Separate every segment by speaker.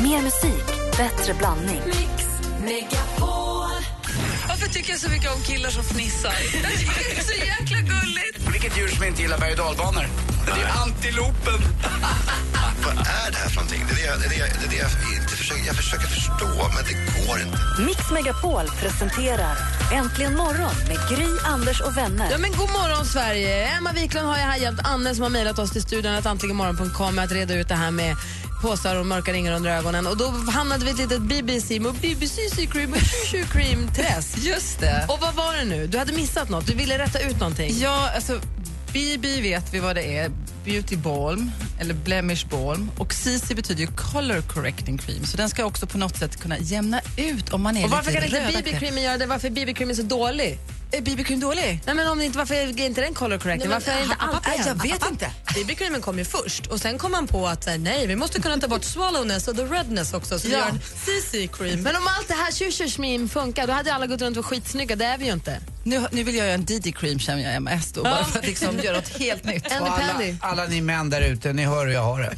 Speaker 1: Mer musik, bättre blandning.
Speaker 2: Mix Megapol. Varför tycker jag så mycket om killar som fnissar? Jag tycker det är så jäkla gulligt.
Speaker 3: Vilket djur som inte gillar berg och dalbanor? Det är antilopen.
Speaker 4: Vad är det här för någonting? Det är det, jag- det, är det, jag- det, är det jag, inte försöker, jag försöker förstå, men det går inte.
Speaker 1: Mix Megapol presenterar Äntligen morgon med Gry, Anders och vänner.
Speaker 5: Ja, men god morgon, Sverige! Emma Wiklund har jag här hjälpt Anne som har mejlat oss till studion att antligenmorgon.com med att reda ut det här med påsar och mörka ringar under ögonen. Och då hamnade vi i ett litet BBC och BBC cream och Shoo cream träsk.
Speaker 2: Just det.
Speaker 5: Och vad var det nu? Du hade missat något. Du ville rätta ut någonting.
Speaker 2: Ja, alltså BB vet vi vad det är. Beauty balm, eller blemish balm. Och CC betyder ju color correcting cream. Så den ska också på något sätt kunna jämna ut om man är
Speaker 5: Och varför kan
Speaker 2: lite
Speaker 5: inte
Speaker 2: rödaktig.
Speaker 5: BB-creamen göra det? Varför är BB-creamen så dålig?
Speaker 2: Är BB-cream dålig?
Speaker 5: Nej, men om det inte, varför är inte den color correcting? Varför är inte allt
Speaker 2: Nej,
Speaker 5: en?
Speaker 2: jag vet inte.
Speaker 6: BB-creamen kom ju först och sen kom man på att så här, nej, vi måste kunna ta bort swallowness och the redness också så vi
Speaker 2: Ja.
Speaker 6: gör en CC-cream.
Speaker 5: Men om allt det här tjuschershmim funkar, då hade ju alla gått runt och varit skitsnygga. Det är vi ju inte.
Speaker 2: Nu, nu vill jag göra en DD-cream känner jag, MS då, bara för att liksom göra något helt nytt.
Speaker 5: Andy
Speaker 2: Och alla-
Speaker 5: Pandy.
Speaker 3: Alla ni män där ute, ni hör hur jag har det.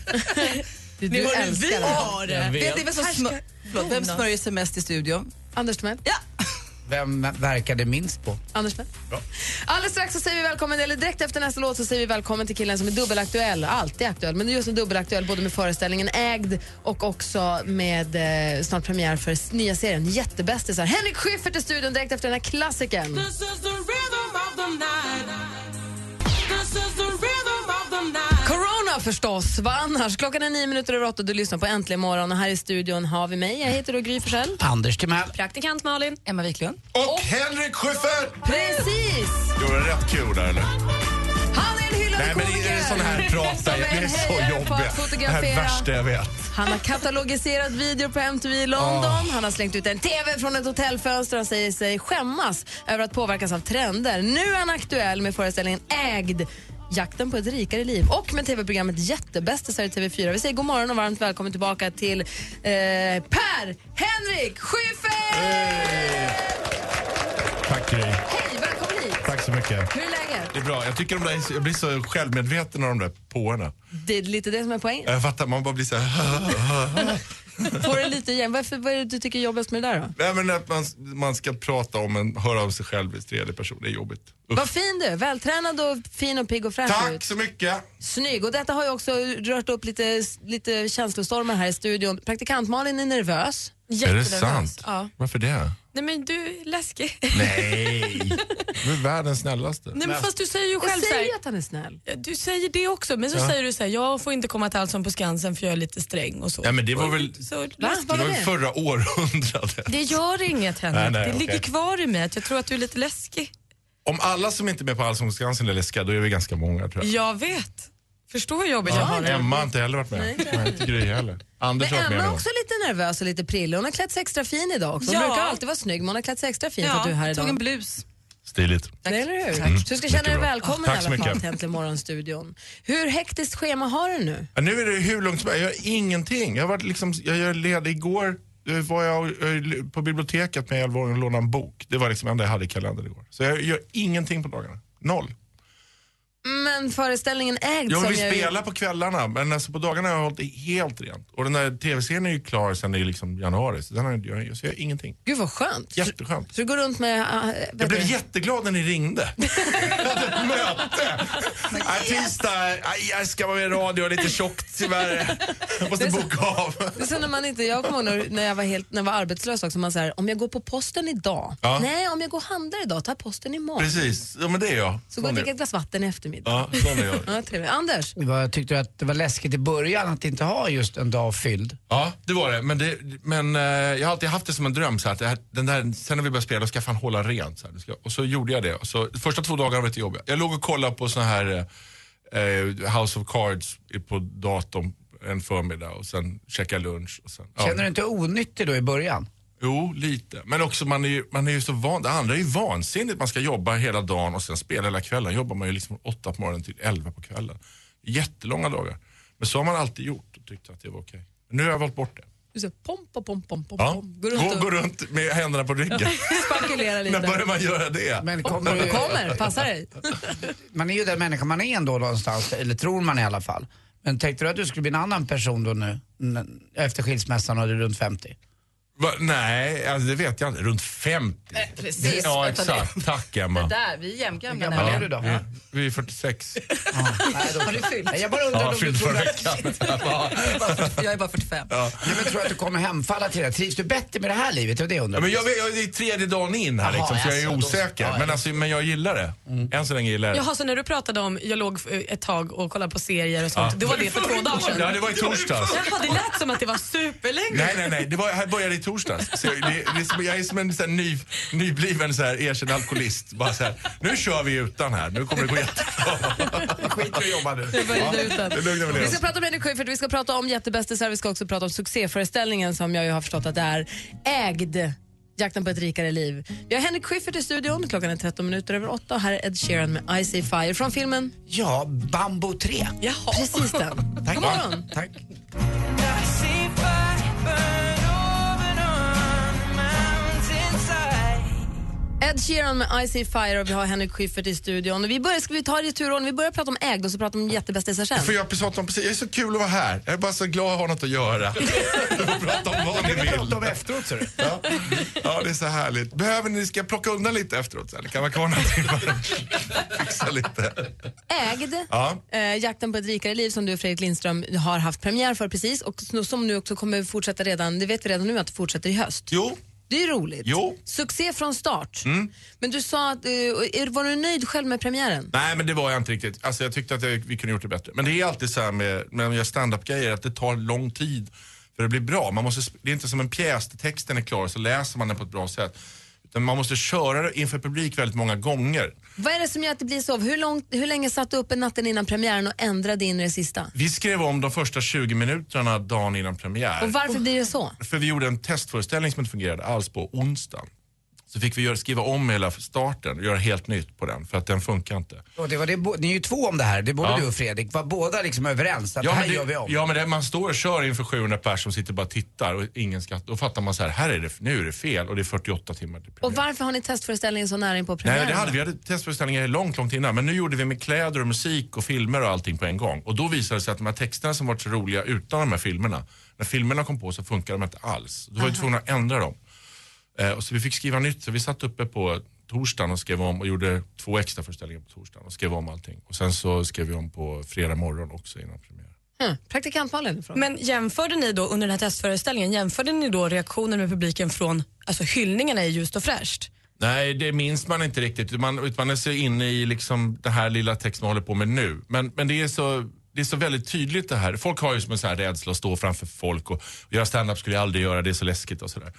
Speaker 5: Du
Speaker 2: hur
Speaker 5: älskar
Speaker 2: vi
Speaker 5: det.
Speaker 2: har det. Vet ni vem som smör- förlåt, vem smörjer sig mest i studion?
Speaker 5: Anders Timell.
Speaker 2: Ja!
Speaker 3: Vem verkar det minst på?
Speaker 5: Anders med. Alldeles strax så säger vi välkommen, eller direkt efter nästa låt så säger vi välkommen till killen som är dubbelaktuell, alltid aktuell, men just nu dubbelaktuell både med föreställningen Ägd och också med eh, snart premiär för s- nya serien Jättebästisar. Henrik Schyffert i studion direkt efter den här klassikern. Corona förstås, vad annars? Klockan är nio minuter över åtta och du lyssnar på Äntligen morgon och här i studion har vi mig, jag heter då Gry Forssell.
Speaker 3: Anders Timell.
Speaker 6: Praktikant Malin.
Speaker 2: Emma Wiklund.
Speaker 7: Och Henrik Schyffert!
Speaker 5: Precis!
Speaker 7: Gjorde det rätt kul där eller?
Speaker 5: Han är en hyllad
Speaker 7: Nej men är det sån här prat
Speaker 5: Som
Speaker 7: där? Det är
Speaker 5: en hejare
Speaker 7: så
Speaker 5: på att
Speaker 7: jobbigt. Det här är
Speaker 5: fotografera.
Speaker 7: det värsta jag vet.
Speaker 5: Han har katalogiserat videor på MTV i London. Han har slängt ut en TV från ett hotellfönster. Han säger sig skämmas över att påverkas av trender. Nu är han aktuell med föreställningen Ägd. Jakten på ett rikare liv och med tv-programmet Jättebästisar i TV4. Vi säger god morgon och varmt välkommen tillbaka till eh, Per-Henrik Schyffert!
Speaker 7: Tack Gry.
Speaker 5: Hej, välkommen hit!
Speaker 7: Tack så mycket.
Speaker 5: Hur är läget?
Speaker 7: Det är bra. Jag tycker de där, jag blir så självmedveten av de där påarna.
Speaker 5: Det är lite det som är poängen.
Speaker 7: Jag fattar, man bara blir så här...
Speaker 5: Får du lite igen. Varför, vad är det du tycker är jobbigast med det där då?
Speaker 7: Nej men att man, man ska prata om en, höra av sig själv i tredje person, det är jobbigt. Usch.
Speaker 5: Vad fin du är. Vältränad och fin och pigg och fräsch ut.
Speaker 7: Tack så mycket!
Speaker 5: Snygg. Och detta har ju också rört upp lite, lite känslostormar här i studion. Praktikant Malin är nervös.
Speaker 7: Är det sant?
Speaker 8: Ja.
Speaker 7: Varför det?
Speaker 8: Nej men du är läskig.
Speaker 7: Nej! Du är världens snällaste.
Speaker 8: Nej men fast du säger ju
Speaker 5: Jag
Speaker 8: själv så
Speaker 5: säger ju
Speaker 8: här,
Speaker 5: att han är snäll.
Speaker 8: du säger det också men så säger du så här, jag får inte komma till Allsång på Skansen för jag är lite sträng och så.
Speaker 7: Ja, men det var väl-
Speaker 8: Så,
Speaker 5: Va?
Speaker 7: Det
Speaker 5: Vad
Speaker 7: var
Speaker 5: var
Speaker 7: ju
Speaker 5: det?
Speaker 7: förra århundradet.
Speaker 8: det gör inget Henrik,
Speaker 7: Nej, nej,
Speaker 8: det
Speaker 7: okej.
Speaker 8: ligger kvar i mig att jag tror att du är lite läskig.
Speaker 7: Om alla som inte är med på Allsångskansen är läskiga, då är vi ganska många tror jag.
Speaker 8: Jag vet. Förstår hur jobbigt jag har det.
Speaker 7: Emma har inte heller varit med. Nej, inte Gry heller. Anders
Speaker 5: Men
Speaker 7: har varit med
Speaker 5: Emma är
Speaker 7: någon
Speaker 5: också lite nervös och lite prillig. Hon har klätt sig extra fin idag också. Hon
Speaker 8: Ja.
Speaker 5: brukar alltid vara snygg men hon har klätt sig extra fin för att
Speaker 8: Ja,
Speaker 5: du är här
Speaker 8: jag tog en
Speaker 5: idag.
Speaker 8: blus.
Speaker 7: gång. Stiligt.
Speaker 5: Det, eller hur? Så du ska
Speaker 7: Mycket
Speaker 5: känna dig
Speaker 7: bra.
Speaker 5: välkommen
Speaker 7: Tack
Speaker 5: i
Speaker 7: så
Speaker 5: alla fall
Speaker 7: mycket.
Speaker 5: till Äntligen Morgon-studion. Hur hektiskt schema har du nu?
Speaker 7: Ja, nu är det hur långt som helst. Jag gör ingenting. Jag, har varit liksom, jag gör ledig igår. eh, Var jag eh, på biblioteket med 11 och lånade en bok. Det var liksom det enda jag hade i kalendern igår. Så jag gör ingenting på dagarna. Noll.
Speaker 5: Men föreställningen ägd
Speaker 7: Jo, men
Speaker 5: som
Speaker 7: vi
Speaker 5: jag ju-
Speaker 7: spelar på kvällarna, men alltså på dagarna har jag hållit det helt rent. Och den där tv-serien är ju klar sen i liksom januari, så den har jag, inte gjort. så jag gör ingenting.
Speaker 5: Gud vad skönt.
Speaker 7: Jätteskönt.
Speaker 5: Så du går runt med... äh,
Speaker 7: Jag
Speaker 5: vet
Speaker 7: blev
Speaker 5: du-
Speaker 7: jätteglad när ni ringde. Jag hade ett möte. Nej, tisdag, aj, jag ska vara med i radio, lite tjockt tyvärr. Jag måste boka av.
Speaker 5: Det är så när man inte, jag kommer ihåg när- när jag var, helt, när jag var arbetslös också, man säger om jag går på posten idag,
Speaker 7: Ja.
Speaker 5: nej om jag går och handlar idag, tar posten imorgon.
Speaker 7: Precis, ja, men det är jag.
Speaker 5: Så går jag och
Speaker 7: Sån är
Speaker 5: dricker ett glas vatten i eftermiddag.
Speaker 7: Ja, sån är jag.
Speaker 5: Ja. trevligt. Anders,
Speaker 3: Vad tyckte du att det var läskigt i början att inte ha just en dag fylld?
Speaker 7: Ja, det var det. Men, det, men eh, jag har alltid haft det som en dröm. Så här, att det här, den där, sen när vi började spela, då ska jag fan hålla rent. Så här, Du ska, och så gjorde jag det. Och så, första två dagarna var det jobbiga. Jag låg och kollade på sån här eh, eh, House of Cards på datorn en förmiddag och sen käkade lunch. Och sen, ja.
Speaker 3: Känner du inte onyttig då i början?
Speaker 7: Jo, lite. Men också man är ju, man är ju så van. Det andra är ju vansinnigt. Man ska jobba hela dagen och sen spela hela kvällen. Jobbar man ju liksom från åtta på morgonen till elva på kvällen. Jättelånga dagar. Men så har man alltid gjort och tyckt att det var okej. Men Nu har jag valt bort det.
Speaker 5: du säger pom, pom, pom, pom, pom,
Speaker 7: Ja.
Speaker 5: pom.
Speaker 7: Gå,
Speaker 5: Går runt
Speaker 7: gå
Speaker 5: och
Speaker 7: runt med händerna på ryggen.
Speaker 5: spankulerar
Speaker 7: När
Speaker 5: lite.
Speaker 7: börjar man göra det?
Speaker 3: Men kommer
Speaker 5: Kommer,
Speaker 3: du,
Speaker 5: kommer, passa dig.
Speaker 3: man är ju den människa man är ändå någonstans, eller tror man i alla fall. Men tänkte du att du skulle bli en annan person då nu? N- Efter skilsmässan och du är runt 50?
Speaker 7: Va, nej, alltså det vet jag inte. Runt 50.
Speaker 2: precis.
Speaker 7: Ja,
Speaker 2: Vänta,
Speaker 7: exakt. Tack, Emma.
Speaker 2: Där, vi är jämngamla.
Speaker 3: Hur gammal
Speaker 2: nämligen.
Speaker 3: är du då?
Speaker 7: Vi, vi är 46.
Speaker 2: Har du fyllt?
Speaker 3: Nej, Jag bara undrar
Speaker 7: Ja,
Speaker 3: om du
Speaker 7: fylld
Speaker 3: tror
Speaker 7: förra
Speaker 3: att,
Speaker 7: veckan.
Speaker 2: Jag är bara 45.
Speaker 3: nej, men tror du att du kommer hemfalla till det? Trivs du bättre med det här livet? Det var det jag
Speaker 7: Ja,
Speaker 3: undrar.
Speaker 7: men jag, vet- jag, det är tredje dagen in här,
Speaker 3: Jaha,
Speaker 7: liksom, så Mm. jag är
Speaker 3: alltså, då-
Speaker 7: osäker.
Speaker 3: ja,
Speaker 7: men,
Speaker 3: ja.
Speaker 7: alltså, men jag gillar det. Än så länge gillar jag det.
Speaker 8: Jaha, så när du pratade om jag låg eh, ett tag och kollade på serier och sånt,
Speaker 7: Ja.
Speaker 8: då var det för två dagar sedan?
Speaker 7: Ja, det var i torsdags.
Speaker 8: Jaha, det lät som att det var superlänge
Speaker 7: Nej, nej, nej. Det var, här började i torsdags. Så jag, det, det är som, jag är som en så här, ny, nybliven så här, erkänd alkoholist. Bara så här, nu kör vi utan här. Nu kommer det gå jättebra. Skit i att jobba nu. Ja, det lugnar vi ner
Speaker 5: Vi
Speaker 7: oss.
Speaker 5: ska prata om energiskiffer, vi ska prata om jättebästisar, vi ska också prata om succéföreställningen som jag ju har förstått att det är. Ägd. Jakten på ett rikare liv. Vi har Henrik Schyffert i studion, klockan är 13 minuter över 8 och här är Ed Sheeran med I See Fire från filmen
Speaker 3: Ja, Bambo 3.
Speaker 5: Jaha. Precis den.
Speaker 3: Tack.
Speaker 5: God morgon.
Speaker 3: Tack.
Speaker 5: Ed Sheeran med I See Fire och vi har Henrik Schyffert i studion. Och Vi börjar, ska vi ta det i turordning? Vi börjar prata om ägd och så pratar vi om jättebästisar sen.
Speaker 7: För jag prata om precis, det är så kul att vara här. Jag är bara så glad att ha något att göra. prata om vad ni
Speaker 3: Vi pratar om
Speaker 7: vill.
Speaker 3: efteråt, ser du.
Speaker 7: Ja. ja, det är så härligt. Behöver ni, ska jag plocka undan lite efteråt sen? Det kan vara kvar några timmar. Fixa lite.
Speaker 5: Ägd,
Speaker 7: Ja.
Speaker 5: eh, Jakten på ett rikare liv som du Fredrik Lindström har haft premiär för precis och s- som nu också kommer fortsätta redan, det vet vi redan nu att det fortsätter i höst.
Speaker 7: Jo,
Speaker 5: Det är ju roligt.
Speaker 7: Jo. Mm.
Speaker 5: Succé från start. Men du sa att, eh, är- var du nöjd själv med premiären?
Speaker 7: Nej, men det var jag inte riktigt. Alltså, jag tyckte att jag, vi kunde gjort det bättre. Men det är alltid så här med när jag gör standup-grejer, att det tar lång tid för att bli bra. Man måste, sp- det är inte som en pjäs, där texten är klar och så läser man den på ett bra sätt. Utan man måste köra det inför publik väldigt många gånger.
Speaker 5: Vad är det som gör att det blir så? Hur, långt, hur länge satt du uppe natten innan premiären och ändrade in i det sista?
Speaker 7: Vi skrev om de första 20 minuterna dagen innan premiär.
Speaker 5: Och varför blir det så?
Speaker 7: För vi gjorde en testföreställning som inte fungerade alls på onsdagen. Så fick vi göra, skriva om hela starten och göra helt nytt på den, för att den funkar inte.
Speaker 3: Och det var det, bo- ni är ju två om det här, det är både
Speaker 7: Ja.
Speaker 3: du och Fredrik. Var båda liksom överens att det här
Speaker 7: men det-
Speaker 3: gör vi om?
Speaker 7: Ja, men det, man står och kör inför 700 personer som sitter och bara tittar och ingen skatt. Då fattar man så här, här är det, nu är det fel och det är 48 timmar till
Speaker 5: Och
Speaker 7: premiär.
Speaker 5: varför har ni testföreställningen så nära in på
Speaker 7: Nej,
Speaker 5: premiären?
Speaker 7: men det hade, vi hade testföreställningar långt, långt innan. Men nu gjorde vi med kläder och musik och filmer och allting på en gång. Och då visade det sig att de här texterna som varit så roliga utan de här filmerna, när filmerna kom på så funkade de inte alls. Då var vi tvungna att ändra dem. Eh, och så vi fick skriva nytt. Så vi satt uppe på torsdagen och skrev om och gjorde två extra föreställningar på torsdagen och skrev om allting. Och sen så skrev vi om på fredag morgon också innan premiär.
Speaker 5: Hmm. Praktikant Malin ifrån.
Speaker 8: Men jämförde ni då under den här testföreställningen, jämförde ni då reaktionen med publiken från alltså hyllningarna i Ljust och fräscht?
Speaker 7: Nej, det minns man inte riktigt. Man, utan man är så inne i liksom den här lilla texten man håller på med nu. Men, men det, är så, det är så väldigt tydligt det här. Folk har ju som en så här rädsla att stå framför folk och, och göra stand-up skulle jag aldrig göra, det är så läskigt och sådär.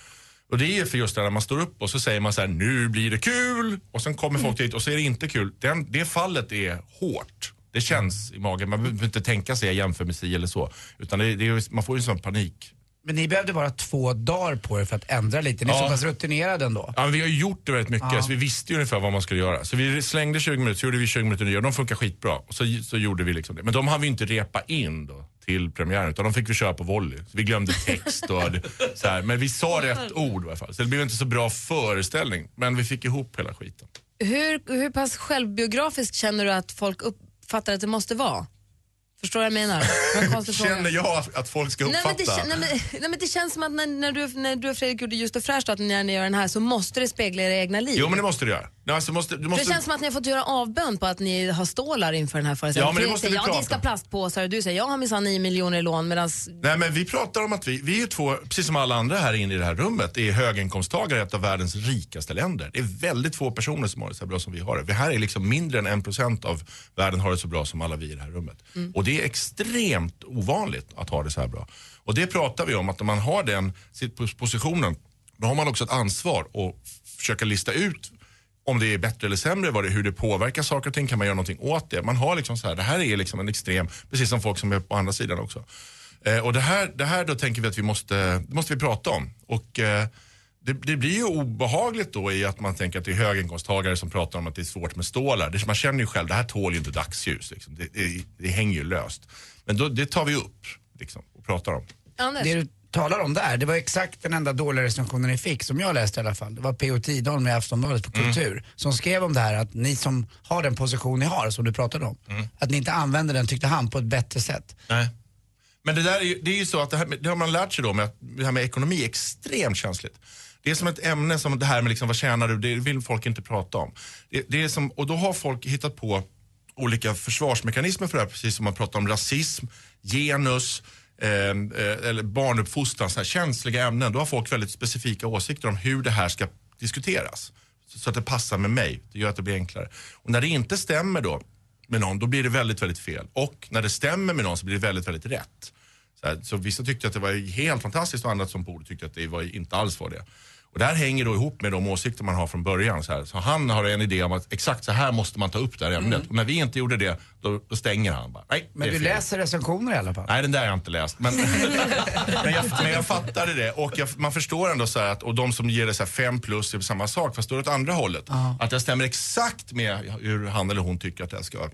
Speaker 7: Och det är ju för just det här när man står upp och så säger man så här, nu blir det kul! Och sen kommer folk dit och så är det inte kul. Den, det fallet är hårt. Det känns i magen. Man behöver inte tänka sig jag jämför med si eller så. Utan det, det är, ju- man får ju en sån panik.
Speaker 3: Men ni behövde bara två dagar på er för att ändra lite. Ni är
Speaker 7: Ja.
Speaker 3: så pass rutinerade ändå.
Speaker 7: Ja, men vi har ju gjort det väldigt mycket, så vi visste ju ungefär vad man skulle göra. Så vi slängde 20 minuter, så gjorde vi 20 minuter nya och de funkar skitbra. Och så, så gjorde vi liksom det. Men de hann vi inte repa in då till premiären, utan de fick vi köra på volley. Så vi glömde text och så här. Men vi sa rätt ord i alla fall. Så det blev inte så bra föreställning, men vi fick ihop hela skiten.
Speaker 5: Hur, hur pass självbiografiskt känner du att folk uppfattar att det måste vara? Förstår du vad jag menar? Det var en konstig fråga.
Speaker 7: Känner jag att folk ska
Speaker 5: Nej
Speaker 7: uppfatta?
Speaker 5: men, det, kän- nej, men, nej men det känns som att när, när, du, när du och Fredrik gjorde Just och fräscht, att när ni gör den här så måste det spegla era egna liv.
Speaker 7: Jo men det måste du göra. Nej, alltså, måste, du måste...
Speaker 5: För det känns som att ni har fått göra avbön på att ni har stålar inför den här
Speaker 7: Ja,
Speaker 5: föreställningen.
Speaker 7: men det
Speaker 5: Fredrik
Speaker 7: måste
Speaker 5: säger
Speaker 7: vi
Speaker 5: jag
Speaker 7: prata
Speaker 5: diskar
Speaker 7: om."
Speaker 5: plastpåsar och du säger jag har minsann 9 miljoner i lån medan
Speaker 7: Nej men vi pratar om att vi, vi är ju två, precis som alla andra här inne i det här rummet, är höginkomsttagare i ett av världens rikaste länder. Det är väldigt få personer som har det så här bra som vi har det. Vi här är liksom mindre än en procent av världen har det så bra som alla vi i det här rummet. Och det är extremt ovanligt att ha det så här bra. Och det pratar vi om, att när man har den sitt pos- positionen, då har man också ett ansvar att f- försöka lista ut om det är bättre eller sämre, vad det, hur det påverkar saker och ting, kan man göra någonting åt det? Man har liksom så här, det här är liksom en extrem, precis som folk som är på andra sidan också. Eh, och det här, det här då tänker vi att vi måste, det måste vi prata om. Och eh, det, det blir ju obehagligt då i att man tänker att det är höginkomsttagare som pratar om att det är svårt med stålar. Det, man känner ju själv, det här tål ju inte dagsljus. Liksom. Det, det, det hänger ju löst. Men då, det tar vi upp liksom, och pratar om.
Speaker 5: Anders,
Speaker 3: Det är, talar om där, det var exakt den enda dåliga recensionen ni fick, som jag läste i alla fall. Det var P.O. Tidholm i Aftonbladet på
Speaker 7: Mm.
Speaker 3: Kultur som skrev om det här att ni som har den position ni har, som du pratade om,
Speaker 7: Mm.
Speaker 3: att ni inte använder den, tyckte han, på ett bättre sätt.
Speaker 7: Nej. Men det där är ju, det är ju så att det, här, med- det har man lärt sig då med att det här med ekonomi är extremt känsligt. Det är som ett ämne som det här med liksom, vad tjänar du, det vill folk inte prata om. Det, det är som, och då har folk hittat på olika försvarsmekanismer för det här, precis som man pratar om rasism, genus, eh, eh, eller barnuppfostran, så här känsliga ämnen. Då har folk väldigt specifika åsikter om hur det här ska diskuteras. Så, så att det passar med mig, det gör att det blir enklare. Och när det inte stämmer då, med någon, då blir det väldigt, väldigt fel. Och när det stämmer med någon så blir det väldigt, väldigt rätt. Så, här, så vissa tyckte att det var helt fantastiskt och andra som borde tyckte att det var, inte alls var det. Och det här hänger då ihop med de åsikter man har från början. Så, här. så han har en idé om att exakt så här måste man ta upp det här ämnet. Och när vi inte gjorde det, då, då stänger han. Bara, Nej,
Speaker 3: Mm. Men
Speaker 7: det är
Speaker 3: du
Speaker 7: fel."
Speaker 3: läser recensioner i alla fall?
Speaker 7: Nej, den där har jag inte läst. Men, men, jag, men jag fattade det. Och jag, man förstår ändå så här att, och de som ger det så här fem plus är på samma sak, fast då är det åt andra hållet. Att det stämmer exakt med hur han eller hon tycker att det här ska,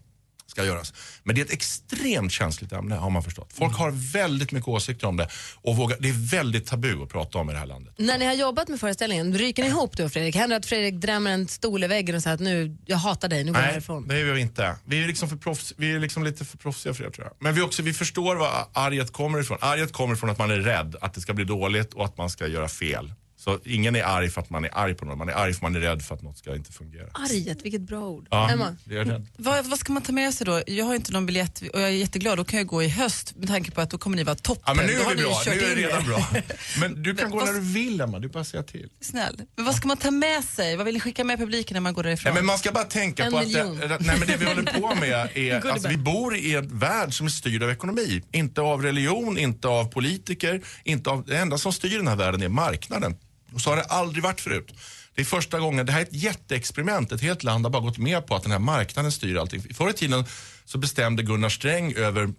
Speaker 7: ska göras. Men det är ett extremt känsligt ämne, har man förstått. Folk har väldigt mycket åsikter om det. Och vågar, det är väldigt tabu att prata om i det här landet.
Speaker 5: När ni har jobbat med föreställningen, ryker ni ihop då Fredrik? Händer det att Fredrik drämmer en stol i väggen och säger att nu, jag hatar dig, nu går jag
Speaker 7: Nej,
Speaker 5: härifrån?
Speaker 7: det är vi inte. Vi är, liksom för proffs, vi är liksom lite för proffsiga för det tror jag. Men vi, också, vi förstår var arget kommer ifrån. Arget kommer ifrån att man är rädd att det ska bli dåligt och att man ska göra fel. Så ingen är arg för att man är arg på någon. Man är arg för att man är rädd för att något ska inte fungera.
Speaker 5: Arget, vilket bra ord.
Speaker 7: Ja,
Speaker 5: Emma?
Speaker 7: det är rädd.
Speaker 2: Vad, vad ska man ta med sig då? Jag har ju inte någon biljett och jag är jätteglad. Då kan jag gå i höst med tanke på att då kommer ni vara toppen.
Speaker 7: Ja, men nu
Speaker 2: Då har
Speaker 7: är vi
Speaker 2: ni ju
Speaker 7: bra. Nu är det redan
Speaker 2: kört in er.
Speaker 7: bra. Men du kan
Speaker 2: Men
Speaker 7: gå
Speaker 2: vad-
Speaker 7: när du vill Emma, du bara säger till.
Speaker 2: Snäll. Men vad ska man ta med sig? Vad vill ni skicka med publiken när man går därifrån?
Speaker 7: Nej, men man ska bara tänka
Speaker 5: En
Speaker 7: på att
Speaker 5: miljon.
Speaker 7: det, nej, men det vi håller på med är att vi bor i en värld som är styrd av ekonomi. Inte av religion, inte av politiker. Inte av, det enda som styr den här världen är marknaden. Och så har det aldrig varit förut. Det är första gången, det här är ett jätteexperiment. Ett helt land har bara gått med på att den här marknaden styr allting. Förr i tiden så bestämde Gunnar Sträng över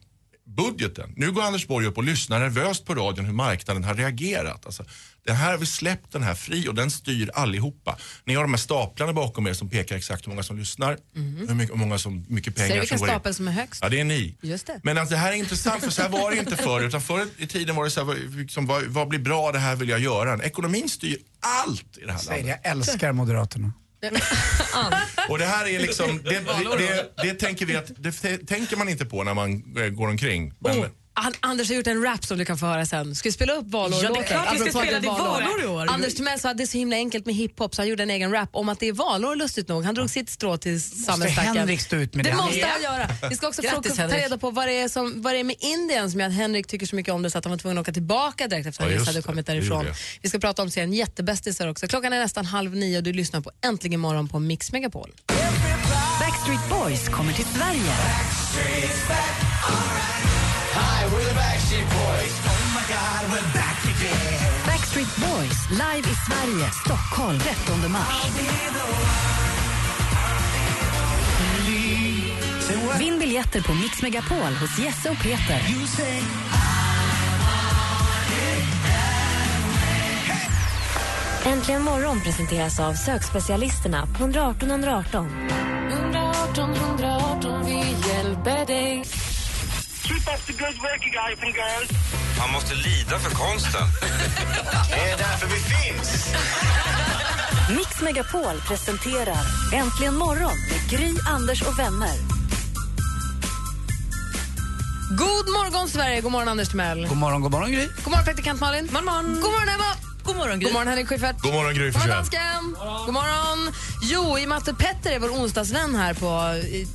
Speaker 7: budgeten. Nu går Anders Borg upp och lyssnar nervöst på radion hur marknaden har reagerat. Alltså, den här har vi släppt den här fri och den styr allihopa. Ni har de här staplarna bakom er som pekar exakt hur många som lyssnar, hur mycket, hur många som, mycket pengar
Speaker 5: Ser du
Speaker 7: som
Speaker 5: vilken
Speaker 7: går in.
Speaker 5: stapel som är högst?
Speaker 7: Ja, det är ni.
Speaker 5: Just det.
Speaker 7: Men alltså, det här är intressant, för så här var det inte förr. Utan förr i tiden var det så här, vad- liksom, vad, vad blir bra, det här vill jag göra. Ekonomin styr allt i det här
Speaker 3: Säg
Speaker 7: landet.
Speaker 3: det, jag älskar Moderaterna.
Speaker 7: Och det här är liksom, det, det, det, det tänker vi att, det t- tänker man inte på när man eh, går omkring. Men,
Speaker 5: Oh. An- Anders har gjort en rap som du kan få höra sen. Ska vi spela upp valår
Speaker 8: Ja, det är klart vi ska spela. Det är valår i år.
Speaker 5: Anders Timell sa att det är så himla enkelt med hiphop så han gjorde en egen rap om att det är valår lustigt nog. Han drog sitt strå till samhällsstacken.
Speaker 3: Henrik stå ut med
Speaker 5: det
Speaker 3: det? Han
Speaker 5: måste
Speaker 3: är-
Speaker 5: han göra. Vi ska också
Speaker 2: Grattis,
Speaker 5: fråga, ta
Speaker 2: Henrik.
Speaker 5: reda på vad det, är som, vad det är med Indien som gör att Henrik tycker så mycket om det så att han var tvungen att åka tillbaka direkt efter att
Speaker 7: Ja,
Speaker 5: han
Speaker 7: just
Speaker 5: hade
Speaker 7: det.
Speaker 5: kommit
Speaker 7: Det gjorde
Speaker 5: därifrån.
Speaker 7: jag.
Speaker 5: Vi ska prata om serien Jättebästisar också. Klockan är nästan halv nio och du lyssnar på Äntligen morgon på Mix Megapol.
Speaker 1: Backstreet Boys kommer till Sverige. Backstreet Boys live i Sverige, Stockholm 13 mars. Vinn biljetter på Mix Megapol hos Jesse och Peter.
Speaker 9: Äntligen morgon presenteras av sökspecialisterna på 118 118.
Speaker 10: Man måste lida för konsten.
Speaker 4: Det är därför vi finns.
Speaker 1: Mix Megapol presenterar Äntligen morgon med Gry, Anders och vänner.
Speaker 5: God morgon Sverige, god morgon Anders Timell.
Speaker 3: God morgon, god morgon Gry.
Speaker 5: God morgon praktikant Malin. God morgon, god morgon Emma.
Speaker 2: God morgon, Gry.
Speaker 5: God morgon Henrik Schyffert.
Speaker 7: God morgon Gry
Speaker 5: God morgon,
Speaker 7: Forssell.
Speaker 5: dansken! God morgon! Jo, i och med att Petter är vår onsdagsvän här på, i,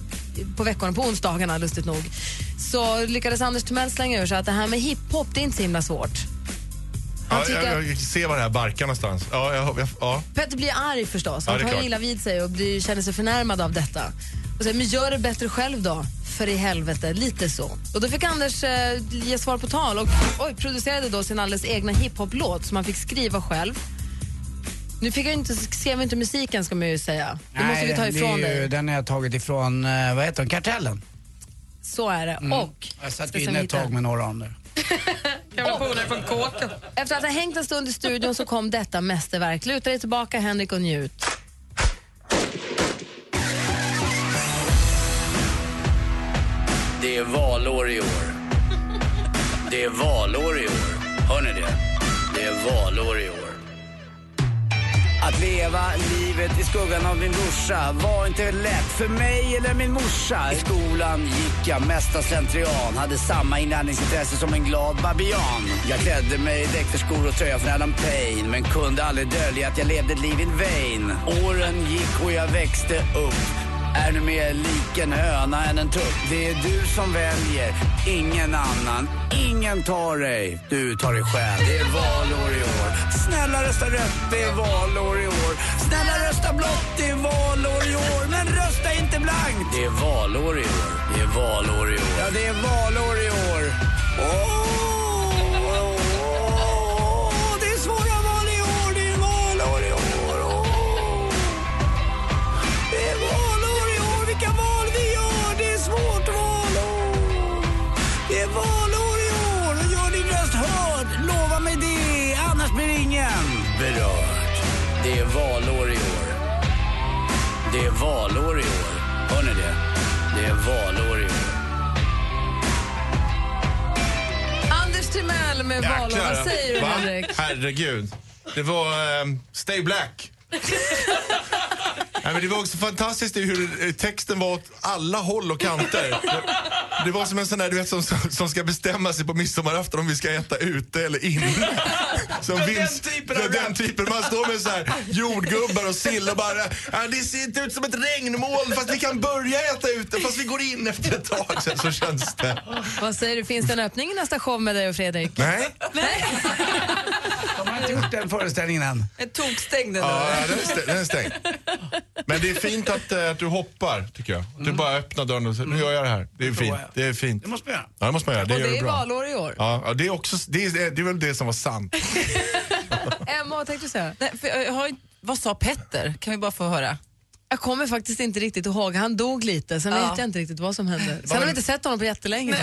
Speaker 5: på veckorna, på onsdagarna lustigt nog, så lyckades Anders Timell slänga ur sig att det här med hiphop, det är inte så himla svårt. Han
Speaker 7: Ja,
Speaker 5: tycker
Speaker 7: jag,
Speaker 5: att
Speaker 7: jag ser var det här barkar någonstans. Ja, jag, jag, ja.
Speaker 5: Petter blir arg förstås. Han
Speaker 7: Ja, det är
Speaker 5: tar
Speaker 7: klart.
Speaker 5: illa vid sig och blir, känner sig förnärmad av detta. Och säger, men gör det bättre själv då, för i helvete. Lite så. Och då fick Anders eh, ge svar på tal och oj, producerade då sin alldeles egna hiphop-låt som han fick skriva själv. Nu fick jag inte, skrev jag inte musiken ska man ju säga. Det måste vi ta
Speaker 3: den-
Speaker 5: ifrån
Speaker 3: det är ju-
Speaker 5: dig.
Speaker 3: Den har jag tagit ifrån, eh, vad heter den, Kartellen.
Speaker 5: Så är det. Och,
Speaker 3: Mm. Jag satt
Speaker 5: Ska
Speaker 3: ju
Speaker 5: se om
Speaker 3: inne
Speaker 5: jag
Speaker 3: ett tag
Speaker 5: hittar.
Speaker 3: med några om det.
Speaker 5: efter att ha hängt en stund i studion så kom detta mästerverk. Luta dig tillbaka Henrik och njut.
Speaker 11: Det är valår i år. Det är valår i år. Hör ni det? Sverige. Det är valår i år. Att leva livet i skuggan av din brorsa var inte lätt för mig eller min morsa. I skolan gick jag mesta slentrian, hade samma inlärningsintresse som en glad babian. Jag klädde mig i dräkterskor och tröja från Adam Payne men kunde aldrig dölja att jag levde ett liv in vain. Åren gick och jag växte upp. Är du mer lik en höna än en tupp? Det är du som väljer, ingen annan. Ingen tar dig, du tar dig själv. Det är valår i år. Snälla rösta rött, det är valår i år. Snälla rösta blått, det är valår i år. Men rösta inte blankt! Det är valår i år. Det är valår i år. Ja, det är valår i år. Åh, det är svåra val i år. Det är valår i år. Åh. Det är valår i år. Vilka val vi gör. Det är svårt valår. Det är valår i år. Och gör din röst hörd. Lova mig det. Annars blir ingen berörd. Det är valår i år. Det är valår i år. Hör ni det? Det är valår i år.
Speaker 5: Anders Timell med valår. Vad säger du,
Speaker 7: Va?
Speaker 5: Henrik?
Speaker 7: Herregud. Det var ehm, Stay Black. Nej, men det var också fantastiskt i hur eh, texten var åt alla håll och kanter. Det, det var som en sån där du vet, som, som, som ska bestämma sig på midsommarafton om vi ska äta ute eller inne. Som
Speaker 12: Den
Speaker 7: Vince-
Speaker 12: typen av
Speaker 7: Ja, den
Speaker 12: rap.
Speaker 7: typen. Man står med så här jordgubbar och sill och bara "Ah, det ser inte ut som ett regnmoln fast vi kan börja äta ute fast vi går in efter ett tag. Så, så känns det.
Speaker 5: Vad säger du, finns det en öppning i nästa show med dig och Fredrik?
Speaker 7: Nej.
Speaker 3: De har inte gjort den föreställningen än.
Speaker 2: En tokstängd den
Speaker 7: Ja,
Speaker 2: där.
Speaker 7: den är stängd. Den är stängd. Men det är fint att, eh, att du hoppar, tycker jag. Du bara öppnar dörren och säger, nu gör Mm. jag det här. Det är fint. Det är fint. Det måste man göra. Ja, det måste man göra. Det
Speaker 5: och
Speaker 7: gör
Speaker 5: det
Speaker 7: du
Speaker 5: är
Speaker 7: bra.
Speaker 5: valår i år.
Speaker 7: Ja, ja, det är också, det är, det är väl det som var sant.
Speaker 5: Emma, vad tänkte du säga?
Speaker 2: Nej, för jag har, inte- vad sa Petter? Kan vi bara få höra?
Speaker 5: Jag kommer faktiskt inte riktigt ihåg. Han dog lite, sen
Speaker 2: Ja.
Speaker 5: vet jag inte riktigt vad som hände. Sen har vi inte sett honom på jättelänge.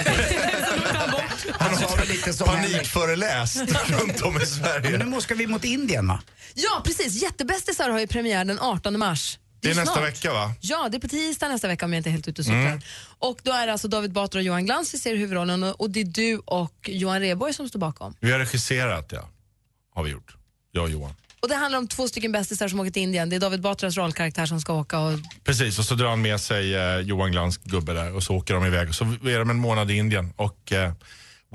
Speaker 3: Han sa väl lite som
Speaker 7: Panikföreläst runt om i Sverige.
Speaker 3: Men nu ska vi mot Indien va?
Speaker 5: Ja, precis. Jättebästisar har ju premiär den 18 mars.
Speaker 7: Det är
Speaker 5: ju
Speaker 7: nästa
Speaker 5: snart.
Speaker 7: vecka, va?
Speaker 5: Ja, det är på tisdag nästa vecka om jag inte är helt ute och cyklar.
Speaker 7: Mm.
Speaker 5: Och då är det alltså David Batra och Johan Glans vi ser i huvudrollen och, och det är du och Johan Rheborg som står bakom.
Speaker 7: Vi har regisserat, ja. Har vi gjort. Jag och Johan.
Speaker 5: Och det handlar om två stycken bästisar som åker till Indien. Det är David Batras rollkaraktär som ska åka och
Speaker 7: Precis, och så drar han med sig eh, Johan Glans gubbe där och så åker de iväg. Och så är de en månad i Indien och eh,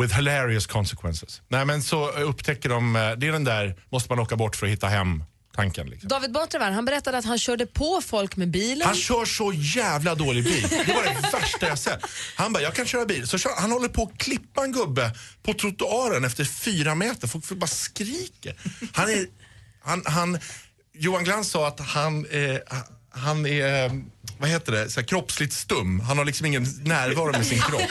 Speaker 7: with hilarious consequences. Nej men så upptäcker de, eh, det är den där måste man åka bort för att hitta hem tanken. Liksom.
Speaker 5: David Batra var här. han berättade att han körde på folk med bilen.
Speaker 7: Han kör så jävla dålig bil. Det var det värsta jag sett. Han bara, jag kan köra bil. Så kör, han håller på att klippa en gubbe på trottoaren efter fyra meter. Folk bara skriker. Han är, han, han, Johan Glans sa att han, eh, han är, eh, vad heter det, så här, kroppsligt stum. Han har liksom ingen närvaro med sin kropp.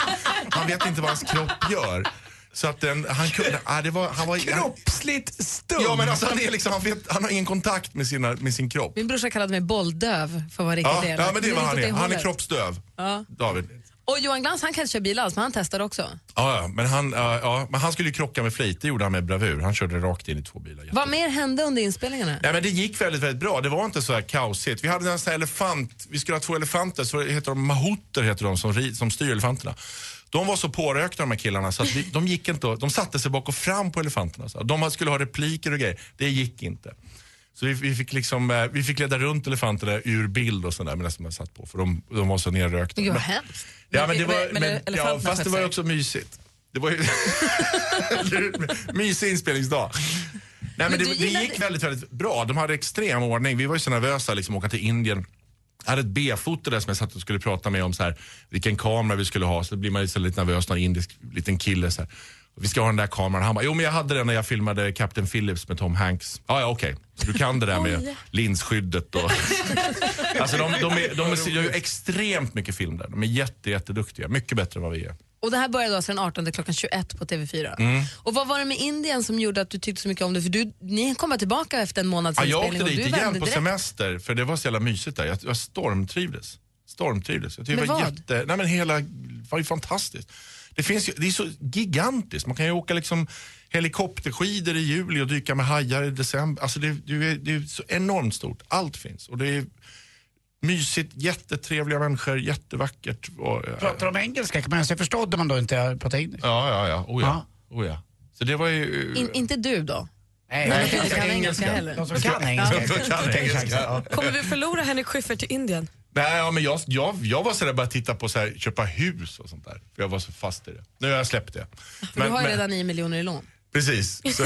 Speaker 7: Han vet inte vad hans kropp gör. Så att den, han kunde, ah, det var, han var,
Speaker 3: Kroppsligt stum?
Speaker 7: Ja men alltså han är liksom, han, vet, han har ingen kontakt med, sina, med sin kropp.
Speaker 5: Min brorsa kallade mig bolldöv för att vara riktigt
Speaker 7: Ja,
Speaker 5: elak.
Speaker 7: ja men det är vad han
Speaker 5: riktigt
Speaker 7: är. Han är
Speaker 5: hållet.
Speaker 7: kroppsdöv.
Speaker 5: Ja.
Speaker 7: David.
Speaker 5: Och Johan Glans han kan inte köra bil alls men han testade också.
Speaker 7: Ja, ja, men han, ja, ja, men han skulle ju krocka med flit. Det gjorde han med bravur. Han körde rakt in i två bilar.
Speaker 5: Vad mer hände under inspelningarna?
Speaker 7: Nej, men det gick väldigt, väldigt bra. Det var inte så här kaosigt. Vi hade en sån här elefant, vi skulle ha två elefanter, så heter de mahoter heter de som, ri- som styr elefanterna. De var så pårökta de här killarna så att vi, de gick inte, att- de satte sig bak och fram på elefanterna. Så här. de skulle ha repliker och grejer, det gick inte. Så vi, vi, fick liksom, eh, vi fick leda runt elefanterna ur bild och sådär medan de satt på för de, de var så nerrökta.
Speaker 5: Gud vad
Speaker 7: Men-
Speaker 5: hemskt.
Speaker 7: Ja, men det
Speaker 2: Men-
Speaker 7: var,
Speaker 2: men
Speaker 7: men,
Speaker 2: elefanterna
Speaker 7: ja, fast det
Speaker 2: skötte
Speaker 7: var ju
Speaker 2: sig.
Speaker 7: också mysigt. Det var ju mysig inspelningsdag. Nej, men
Speaker 12: Men du
Speaker 7: det, det
Speaker 12: gillade-
Speaker 7: gick väldigt, väldigt bra. De hade extrem ordning. Vi var ju så nervösa liksom, att åka till Indien. Jag hade ett B-foto där som jag satt och skulle prata med om så här, vilken kamera vi skulle ha. Så då blir man ju så lite nervös när en indisk liten kille så här, vi ska ha den där kameran. Han bara, jo men jag hade den när jag filmade Captain Phillips med Tom Hanks. Ah, ja, okej. Så du kan det där med
Speaker 12: Oj.
Speaker 7: linsskyddet och... Alltså de, de, är, de är, gör ju extremt mycket film där. De är jätte, jätteduktiga. Mycket bättre än vad vi är.
Speaker 5: Och det här började alltså den 18 klockan 21 på TV4.
Speaker 7: Mm.
Speaker 5: Och vad var det med Indien som gjorde att du tyckte så mycket om det? För du, ni kommer tillbaka efter en månads
Speaker 7: Ja, jag
Speaker 5: inspelning
Speaker 7: åkte
Speaker 5: och
Speaker 7: dit
Speaker 5: du
Speaker 7: igen på
Speaker 5: vände direkt.
Speaker 7: semester för det var så jävla mysigt där. Jag, jag stormtrivdes. Stormtrivdes. Jag tyckte
Speaker 5: Med
Speaker 7: det var
Speaker 5: vad?
Speaker 7: jätte... Nej men hela, det var ju fantastiskt. Det, finns ju, det är så gigantiskt. Man kan ju åka liksom helikopterskidor i juli och dyka med hajar i december. Alltså det, det, är, det är så enormt stort. Allt finns. Och det är mysigt, jättetrevliga människor, jättevackert. Och, eh,
Speaker 3: Pratar de engelska? Kan man ens förstå om man då inte pratar engelska?
Speaker 7: Ja, ja, ja. Oh, ja. Oh, ja. Så det var ju...
Speaker 5: In, inte du då?
Speaker 3: Nej,
Speaker 5: Men de som inte kan engelska heller.
Speaker 3: De som kan engelska.
Speaker 7: De som kan
Speaker 3: Tänk chansen.
Speaker 7: engelska.
Speaker 8: Kommer vi förlora Henrik Schyffert till Indien?
Speaker 7: Nej, ja, men jag, jag, jag var sådär bara titta på så här, köpa hus och sånt där. För jag var så fast i det. Nu har jag släppt det.
Speaker 5: För du har ju redan 9 miljoner i lån.
Speaker 7: Precis. Så,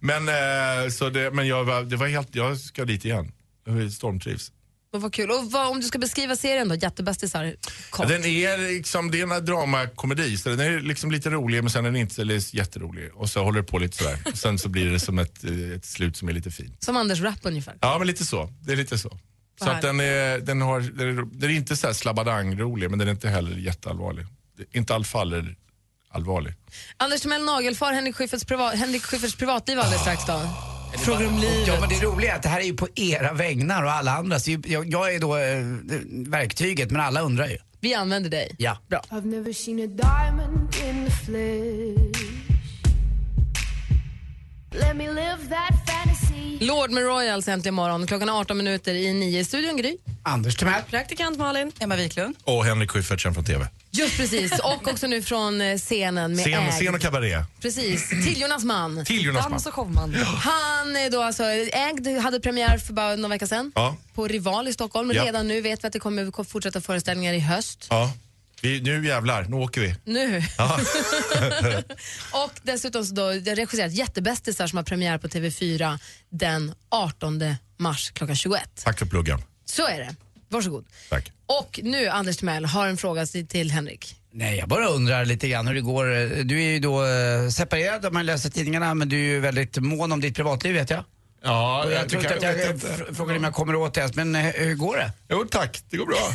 Speaker 7: men eh, så det, men jag, var- det var helt, jag ska dit igen. Jag stormtrivs.
Speaker 5: Men vad kul. Och vad, om du ska beskriva serien då, Jättebästisar, kort.
Speaker 7: Den är liksom, det är en dramakomedi, så den är liksom lite rolig men sen är den inte eller jätterolig. Och så håller det på lite sådär. Och sen så blir det som ett, eh, ett slut som är lite fint.
Speaker 5: Som Anders Rapp ungefär.
Speaker 7: Ja, men lite så. Det är lite så. Så att den är, den har, den är, den är inte så här slabbadang-rolig, men den är inte heller jätteallvarlig. Det är Inte all fall är allvarlig.
Speaker 5: Anders Timell Nagelfar, Henrik Schyfferts, priva- Henrik Schyfferts privatliv alldeles strax då. Frågor om livet.
Speaker 3: Ja, men det roliga är att det här är ju på era vägnar och alla andras. Det är ju- Jag, jag är då eh, verktyget, men alla undrar ju.
Speaker 5: Vi använder dig.
Speaker 3: Ja. Bra.
Speaker 12: I've never seen a diamond in the flesh. Let me live that fantasy.
Speaker 5: Lord med Royals äntligen morgon. Klockan är 18 minuter i 9 i studion, Gry.
Speaker 3: Anders Timell.
Speaker 5: Praktikant Malin. Emma Wiklund.
Speaker 7: Och Henrik Schyffert sen från TV.
Speaker 5: Just precis. Och också nu från eh, scenen med
Speaker 7: Scen,
Speaker 5: ägd.
Speaker 7: scen och kabaré.
Speaker 5: Precis, till Jonas man.
Speaker 7: Till Jonas Mann. Dans och
Speaker 5: showman. Han är då alltså ägd, hade premiär för bara några veckor sedan
Speaker 7: Ja.
Speaker 5: på Rival i Stockholm.
Speaker 7: Ja.
Speaker 5: Redan nu vet vi att det kommer fortsätta föreställningar i höst.
Speaker 7: Ja. Vi, nu jävlar, nu åker vi.
Speaker 5: Nu.
Speaker 7: Ja.
Speaker 5: Och dessutom så då jag regisserat Jättebästisar som har premiär på TV4 den 18 mars klockan 21.
Speaker 7: Tack för pluggen.
Speaker 5: Så är det. Varsågod.
Speaker 7: Tack.
Speaker 5: Och nu Anders Timell har en fråga till till Henrik.
Speaker 3: Nej, jag bara undrar lite grann hur det går. Du är ju då eh, separerad om man läser tidningarna, men du är ju väldigt mån om ditt privatliv vet jag.
Speaker 7: Ja,
Speaker 3: Och jag tror inte att jag
Speaker 7: vet inte.
Speaker 3: fr- frågade om jag kommer åt det ens, men eh, hur går det?
Speaker 7: Jo tack, det går bra.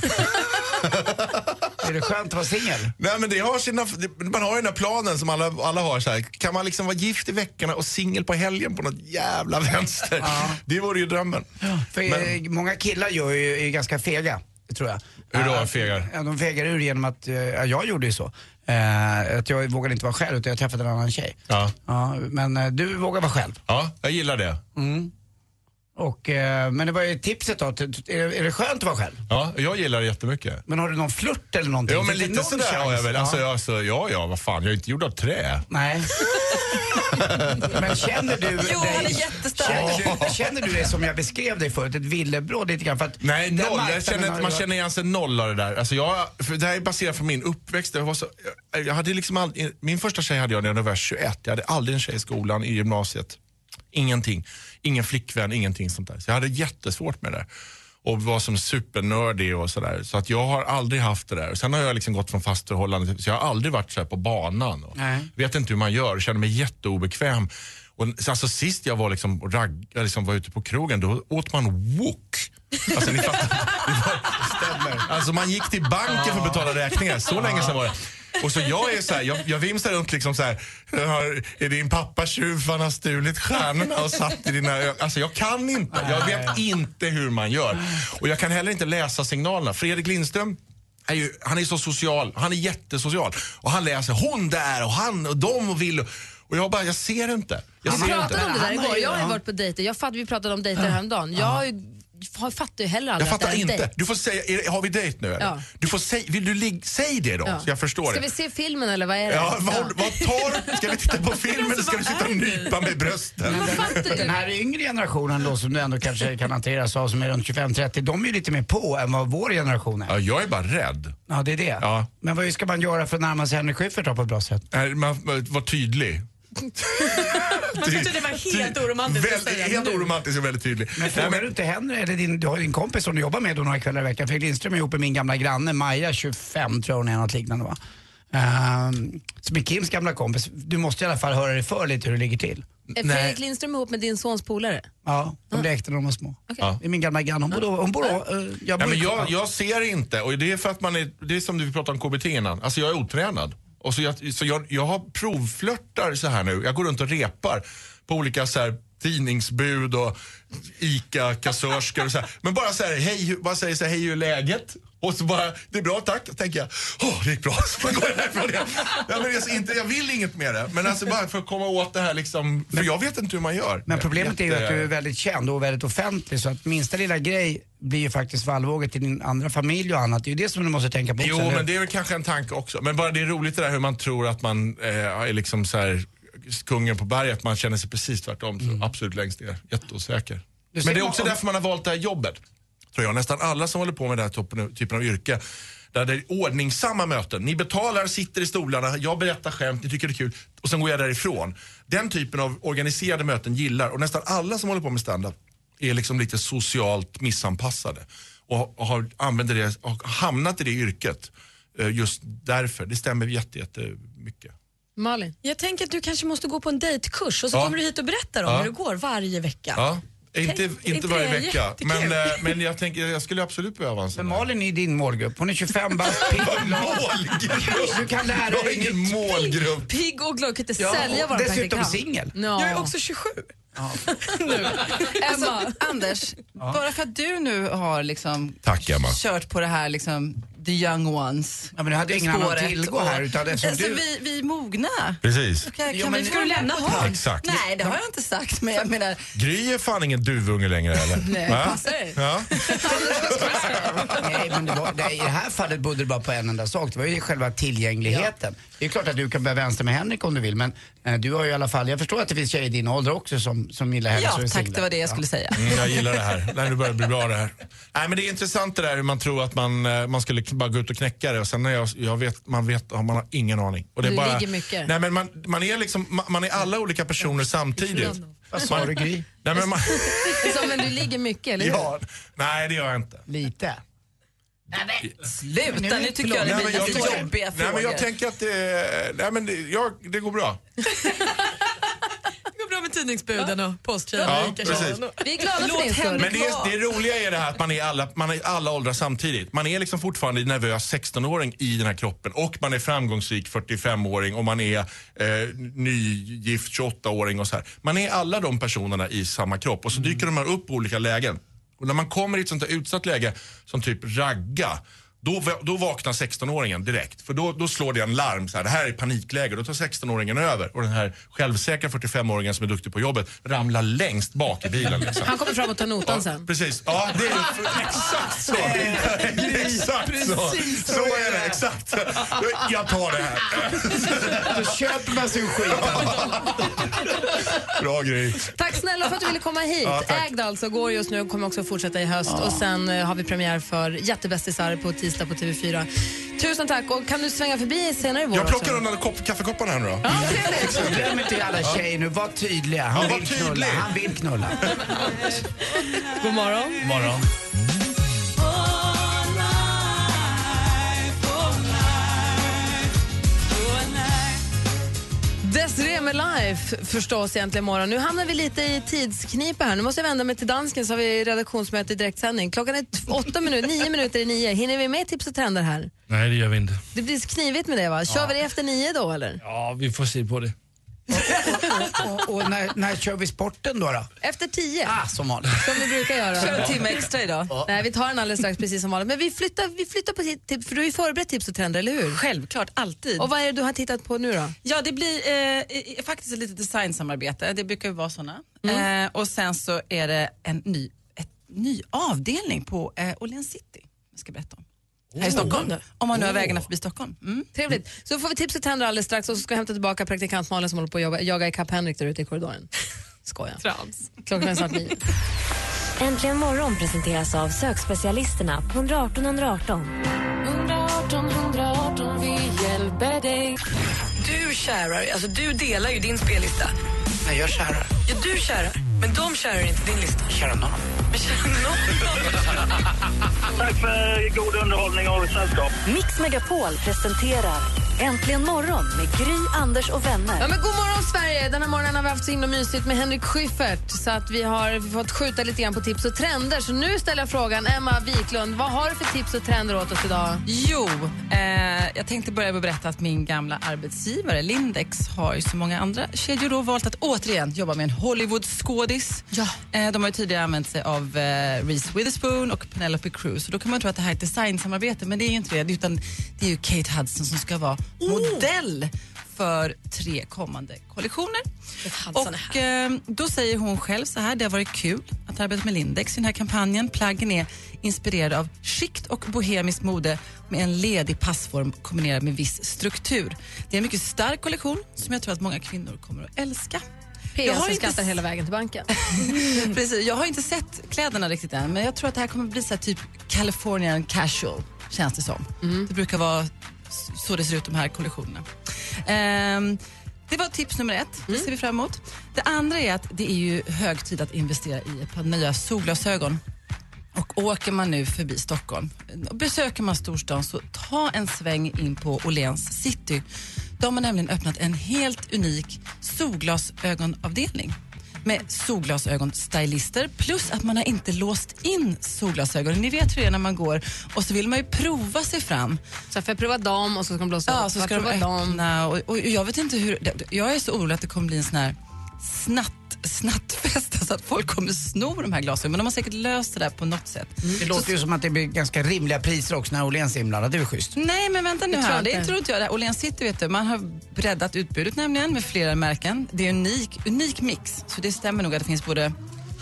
Speaker 3: Är det skönt att vara singel?
Speaker 7: Nej men det har sina, det- man har ju den här planen som alla, alla har så här. kan man liksom vara gift i veckorna och singel på helgen på något jävla vänster? Det vore ju drömmen.
Speaker 3: För eh, många killar gör ju, är ju ganska fega, tror jag.
Speaker 7: Hur då,
Speaker 3: Eh,
Speaker 7: fegar?
Speaker 3: Ja, de fegar ur genom att, eh, ja, jag gjorde ju så. Eh, att jag vågade inte vara själv utan jag träffade en annan tjej.
Speaker 7: Ja.
Speaker 3: Ja, men eh, du vågar vara själv.
Speaker 7: ja, jag gillar det.
Speaker 3: Mm. Och, eh, men det var ju tipset då, till- till- är, det- är det skönt att vara själv?
Speaker 7: Ja, jag gillar det jättemycket.
Speaker 3: Men har du någon flört eller någonting?
Speaker 7: Ja men
Speaker 3: Finns det
Speaker 7: lite
Speaker 3: någon
Speaker 7: sådär har jag
Speaker 3: chans?
Speaker 7: väl.
Speaker 3: Ja.
Speaker 7: Alltså, jag, alltså, ja, ja, vad fan, jag är inte gjord av trä.
Speaker 3: Nej. Men känner du
Speaker 7: Jo,
Speaker 3: dig...
Speaker 7: han är
Speaker 3: Känner du, känner du dig som jag beskrev dig förut, ett villebråd lite grann? För att
Speaker 7: Nej,
Speaker 3: den
Speaker 7: noll.
Speaker 3: marknaden
Speaker 7: Jag känner,
Speaker 3: har
Speaker 7: att
Speaker 3: ju
Speaker 7: man
Speaker 3: varit-
Speaker 7: känner igen sig noll av det där. Alltså jag, för det här är baserat på min uppväxt. Jag var så, jag, jag hade liksom aldrig, min första tjej hade jag när jag var 21. Jag hade aldrig en tjej i skolan, i gymnasiet. Ingenting. Ingen flickvän, ingenting sånt där. Så jag hade jättesvårt med det där. Och var som supernördig och sådär. Så att jag har aldrig haft det där. Sen har jag liksom gått från fast förhållande, så jag har aldrig varit så här på banan. Och,
Speaker 3: Nej.
Speaker 7: Vet inte hur man gör, känner mig jätteobekväm. Och, så alltså, sist jag var, liksom, och ragg, jag liksom var ute på krogen, då åt man wok. Alltså, ni fattar, Alltså man gick till banken för att betala räkningar. Så länge sedan var det. Och så jag är så här, jag, jag vimsar runt liksom så här. Har, är din pappa tjuv för han har stulit stjärnorna och satt i dina ögon? Alltså jag kan inte. Jag vet inte hur man gör. Och jag kan heller inte läsa signalerna. Fredrik Lindström är ju, han är så social, han är jättesocial. Och han läser hon där och han och de och vill. Och jag bara, jag ser inte. Jag
Speaker 5: Vi
Speaker 7: ser
Speaker 5: pratade om det där
Speaker 7: Han har
Speaker 5: igår.
Speaker 7: ju-
Speaker 5: Jag har ju
Speaker 7: ja.
Speaker 5: varit på dejter. Jag fatt, vi pratade om dejter häromdagen. Jag har ju- fa- fattar ju heller
Speaker 7: Jag
Speaker 5: aldrig
Speaker 7: fattar
Speaker 5: att det är en
Speaker 7: inte.
Speaker 5: dejt.
Speaker 7: Du får säga, är, det- har vi dejt nu eller?
Speaker 5: Ja.
Speaker 7: Du får säg, vill du ligga, säg det då
Speaker 5: Ja.
Speaker 7: så jag förstår det.
Speaker 5: Ska vi se filmen eller vad är det?
Speaker 7: Ja, vad, vad tar Ska vi titta på filmen eller ska vi sitta och nypa med brösten?
Speaker 3: Den här yngre generationen då som du ändå kanske kan hanteras av som är runt 25-30, de är ju lite mer på än vad vår generation är.
Speaker 7: Ja, jag är bara rädd.
Speaker 3: Ja, det är det.
Speaker 7: Ja.
Speaker 3: Men vad ska man göra för att närma sig Henrik Schyffert då på ett bra sätt?
Speaker 7: Är- Man, man, var tydlig.
Speaker 8: Jag tyckte det var helt
Speaker 7: Ty-
Speaker 8: oromantiskt att
Speaker 7: väldigt-
Speaker 8: säga
Speaker 7: Helt
Speaker 8: nu.
Speaker 7: oromantiskt och väldigt tydlig.
Speaker 3: Men
Speaker 7: Nej,
Speaker 3: frågar
Speaker 7: men-
Speaker 3: du inte Henry, eller din, du har ju din kompis som du jobbar med då några kvällar i veckan, Fredrik Lindström är ihop med min gamla granne Maja, 25 tror jag hon är, något liknande va? Ehm, som är Kims gamla kompis. Du måste i alla fall höra dig för lite hur det ligger till.
Speaker 5: Är Fredrik Lindström ihop med din sons polare?
Speaker 3: Ja, de lekte när de var små.
Speaker 7: Ja.
Speaker 3: Det är min gamla granne, hon bor, då- hon bor, eh, jag
Speaker 7: Nej,
Speaker 3: bor
Speaker 7: men
Speaker 3: i Kumla.
Speaker 7: jag, jag ser inte och det är för att man är, det är som du pratade om KBT innan, alltså jag är otränad. Och så jag, så jag, jag har provflörtar så här nu, jag går runt och repar på olika så här tidningsbud och ICA-kassörskor och så här. Men bara så här, hej, hur- bara säger så här, hej hur är läget? Och så bara, det är bra tack, tänker jag. Åh, det gick bra. Så bara går jag därifrån igen. ja, men det är så inte, jag vill inget med det. Men alltså bara för att komma åt det här liksom, för jag vet inte hur man gör.
Speaker 3: Men problemet är ju att du är väldigt känd och väldigt offentlig så att minsta lilla grej blir ju faktiskt svallvågor till din andra familj och annat. Det är ju det som du måste tänka på också,
Speaker 7: Jo,
Speaker 3: eller?
Speaker 7: men det är väl kanske en tanke också. Men bara det är roligt det där hur man tror att man eh, är liksom så här kungen på berget, man känner sig precis tvärtom. Så absolut längst ner, jätteosäker.
Speaker 13: Du ser
Speaker 7: Men det är
Speaker 13: man-
Speaker 7: också därför man har valt det här jobbet. Tror jag. Nästan alla som håller på med den här toppen- typen av yrke där det är ordningsamma möten. Ni betalar, sitter i stolarna, jag berättar skämt, ni tycker det är kul och sen går jag därifrån. Den typen av organiserade möten gillar och nästan alla som håller på med standup är liksom lite socialt missanpassade och, och har, använder det, och hamnat i det yrket eh, just därför. Det stämmer jätte, jättemycket.
Speaker 5: Malin?
Speaker 8: Jag tänker att du kanske måste gå på en dejtkurs och så
Speaker 7: Ja.
Speaker 8: kommer du hit och berättar om
Speaker 7: Ja.
Speaker 8: hur det går varje vecka.
Speaker 7: Ja. Inte,
Speaker 8: Tänk,
Speaker 7: inte,
Speaker 8: inte
Speaker 7: varje
Speaker 8: det är
Speaker 7: vecka,
Speaker 8: jättekul.
Speaker 7: men, eh, men jag, tänker, jag skulle absolut behöva en sån. Men
Speaker 3: Malin är ju din målgrupp. Hon är 25 bast, pigg och glad. Du kan lära
Speaker 7: Jag har
Speaker 3: dig
Speaker 7: ingen
Speaker 3: nytt.
Speaker 7: målgrupp.
Speaker 5: Pigg och glad, kan inte
Speaker 3: Ja,
Speaker 5: sälja
Speaker 3: och
Speaker 5: våran
Speaker 3: dessutom
Speaker 5: praktikant.
Speaker 3: singel.
Speaker 5: Ja.
Speaker 8: Jag är också 27.
Speaker 2: Alltså, Anders, bara för att du nu har liksom
Speaker 7: Tack Emma.
Speaker 2: kört på det här liksom, the young ones.
Speaker 3: Ja, men jag hade ingen annan
Speaker 2: spåret
Speaker 3: tillgå här,
Speaker 2: och-
Speaker 3: utan eftersom
Speaker 2: alltså,
Speaker 3: du-
Speaker 2: vi, vi är mogna.
Speaker 7: Precis.
Speaker 2: Kan, kan
Speaker 3: Jo, men-
Speaker 2: vi, ska du lämna
Speaker 7: Ja,
Speaker 2: honom?
Speaker 7: exakt.
Speaker 2: Nej, det har jag inte sagt. Men jag menar,
Speaker 7: Gry är fan ingen duvunge längre eller?
Speaker 2: Nej,
Speaker 7: Va?
Speaker 2: passar det?
Speaker 7: Ja.
Speaker 3: Nej, men det var, det, I det här fallet bodde det bara på en enda sak. Det var ju själva tillgängligheten. Det är klart att du kan börja vänster med Henrik om du vill, men eh, du har ju i alla fall, jag förstår att det finns tjejer i din ålder också som, som gillar henne
Speaker 2: Ja,
Speaker 3: som är
Speaker 2: tack,
Speaker 3: singlar.
Speaker 2: det var det jag skulle säga.
Speaker 7: Mm, jag gillar det här. Nej, nu börjar det bli bra det här. Nej, men det är intressant det där hur man tror att man, eh, man skulle k- bara gå ut och knäcka det och sen när jag, jag vet, man vet, ja, man har ingen aning. Och
Speaker 5: Du
Speaker 7: bara,
Speaker 5: ligger mycket.
Speaker 7: Nej, men man, man är liksom, man, man är alla olika personer samtidigt.
Speaker 3: Vad sa
Speaker 7: Man-
Speaker 3: du, Gry?
Speaker 7: Nej, men man,
Speaker 5: Så, men du ligger mycket, eller hur?
Speaker 7: ja, nej, det gör jag inte.
Speaker 3: Lite.
Speaker 2: sluta, nu tycker jag det
Speaker 7: Nej, men
Speaker 2: blir
Speaker 7: jag
Speaker 2: lite
Speaker 7: tycker-
Speaker 2: jobbiga
Speaker 7: Nej, men
Speaker 2: frågor.
Speaker 7: jag tänker att det, nej, men det, jag, det går bra.
Speaker 8: Det går bra med tidningsbuden och posttjejerna.
Speaker 7: Ja,
Speaker 8: och
Speaker 7: precis.
Speaker 8: Ica-tjejerna.
Speaker 5: Vi är glada
Speaker 8: Låt
Speaker 5: för din
Speaker 8: henne
Speaker 5: skull.
Speaker 7: Men det, är, det roliga är det här att man är i alla, man är i alla åldrar samtidigt. Man är liksom fortfarande nervös 16-åring i den här kroppen och man är framgångsrik 45-åring och man är eh, nygift 28-åring och så här. Man är alla de personerna i samma kropp och så dyker de här upp på olika lägen. Och när man kommer i ett sånt här utsatt läge som typ ragga då, va- då vaknar 16-åringen direkt. För då, då slår det en larm. Så här, det här är panikläge. Då tar 16-åringen över. Och den här självsäkra 45-åringen som är duktig på jobbet ramlar längst bak i bilen. Liksom.
Speaker 5: Han kommer fram och tar notan sen.
Speaker 7: Precis, ja det är exakt så. exakt så.
Speaker 3: Precis så
Speaker 7: Så
Speaker 3: är
Speaker 7: är det,
Speaker 3: det.
Speaker 7: exakt. Jag tar det här.
Speaker 3: Då köper man sin skit.
Speaker 7: Bra grej.
Speaker 5: Tack snälla för att du ville komma hit.
Speaker 7: Ja, tack.
Speaker 5: Ägd alltså, går just nu och kommer också fortsätta i höst. Och sen eh, har vi premiär för Jättebästisar på tisdag på TV4. Tusen tack och kan du svänga förbi senare i vår
Speaker 7: Jag plockar
Speaker 5: också?
Speaker 7: undan kopp, kaffekopparna här nu då.
Speaker 3: Glöm inte alla tjejer nu, var tydliga.
Speaker 7: Ja,
Speaker 3: Han
Speaker 7: var
Speaker 3: vill knulla,
Speaker 7: tydlig.
Speaker 3: han vill knulla.
Speaker 5: God morgon.
Speaker 7: Morgon.
Speaker 5: Desirée med Life förstås egentligen imorgon. Nu hamnar vi lite i tidsknipa här. Nu måste jag vända mig till dansken så har vi redaktionsmöte i direktsändning. Klockan är t- åtta minuter, nio minuter i nio. Hinner vi med tips och trender här?
Speaker 13: Nej, det gör vi inte.
Speaker 5: Det blir knivigt med det va? Kör vi det efter nio då eller?
Speaker 13: Ja, vi får se på det.
Speaker 3: Och, och när, när kör vi sporten då? då?
Speaker 5: Efter tio?
Speaker 3: Ah, som vanligt.
Speaker 5: Som vi brukar göra.
Speaker 2: Kör en timme extra idag.
Speaker 5: Nej, vi tar den alldeles strax precis som vanligt. Men vi flyttar, vi flyttar på tips, för du har ju förberett tips och trender, eller hur?
Speaker 2: Självklart, alltid.
Speaker 5: Och vad är det du har tittat på nu då?
Speaker 2: Ja, det blir eh, i- i- faktiskt ett litet designsamarbete. Det brukar ju vara såna. Eh, och sen så är det en ny, ett, ny avdelning på eh, Åhléns City. Jag ska berätta om. Här i Stockholm. Om man nu har vägarna förbi Stockholm. Mm.
Speaker 5: Mm. Trevligt. Så får vi tips och trender alldeles strax och så ska jag hämta tillbaka praktikant Malin som håller på att jobba, jaga ikapp Henrik där ute i korridoren. Skoja. Trams. Klockan är snart nio.
Speaker 9: Äntligen morgon presenteras av sökspecialisterna på 118 118.
Speaker 14: 118 118, vi hjälper dig.
Speaker 6: Du kärar, alltså du delar ju din spellista.
Speaker 3: Nej, jag kärar.
Speaker 6: Ja, du kärar, men de kärar inte din lista.
Speaker 3: Kärar någon.
Speaker 6: Men kärar någon.
Speaker 1: Tack för god underhållning och sällskap. Mix Megapol presenterar Äntligen morgon med Gry, Anders och vänner.
Speaker 5: Ja, men god morgon, Sverige! Den här morgonen har vi haft så himla mysigt med Henrik Schyffert så att vi har fått skjuta lite grann på tips och trender. Så nu ställer jag frågan, Emma Wiklund, vad har du för tips och trender åt oss idag?
Speaker 2: Jo, eh, jag tänkte börja med att berätta att min gamla arbetsgivare Lindex har ju så många andra kedjor då valt att återigen jobba med en Hollywood-skådis. Eh, de har ju tidigare använt sig av eh, Reese Witherspoon och Penelope Cruz. Och då kan man tro att det här är ett designsamarbete, men det är ju inte det. Utan det är ju Kate Hudson som ska vara modell för tre kommande kollektioner. Och eh, då säger hon själv så här, det har varit kul att arbeta med Lindex i den här kampanjen. Plaggen är inspirerade av skikt och bohemiskt mode med en ledig passform kombinerad med viss struktur. Det är en mycket stark kollektion som jag tror att många kvinnor kommer att älska.
Speaker 5: P.S. som
Speaker 2: inte
Speaker 5: skrattar hela vägen till banken.
Speaker 2: Precis, jag har inte sett kläderna riktigt än, men jag tror att det här kommer bli så här typ Californian casual, känns det som. Det brukar vara s- så det ser ut de här kollektionerna. Ehm, det var tips nummer ett, det ser vi fram emot. Det andra är att det är ju hög tid att investera i ett par nya solglasögon. Och åker man nu förbi Stockholm, besöker man storstan så ta en sväng in på Åhléns city. De har nämligen öppnat en helt unik solglasögonavdelning med solglasögonstylister plus att man har inte låst in solglasögonen. Ni vet hur det är när man går och så vill man ju prova sig fram.
Speaker 5: Så får jag prova dem och så ska de blåsa
Speaker 2: Ja,
Speaker 5: upp.
Speaker 2: så
Speaker 5: Får
Speaker 2: ska
Speaker 5: jag
Speaker 2: de
Speaker 5: prova dem?
Speaker 2: öppna och, och jag vet inte hur... Jag är så orolig att det kommer bli en sån här snatt snattfest, alltså att folk kommer sno de här glasögonen. Men de har säkert löst det där på något sätt.
Speaker 3: Det
Speaker 2: Så-
Speaker 3: låter ju som att det blir ganska rimliga priser också när Åhléns är inblandad. Det är väl schysst?
Speaker 2: Nej, men vänta nu
Speaker 3: Det tror
Speaker 2: här.
Speaker 3: jag
Speaker 2: Det
Speaker 3: inte.
Speaker 2: tror inte jag. Det här Åhléns City, vet du, man har breddat utbudet nämligen med flera märken. Det är en unik, unik mix, så det stämmer nog att det finns både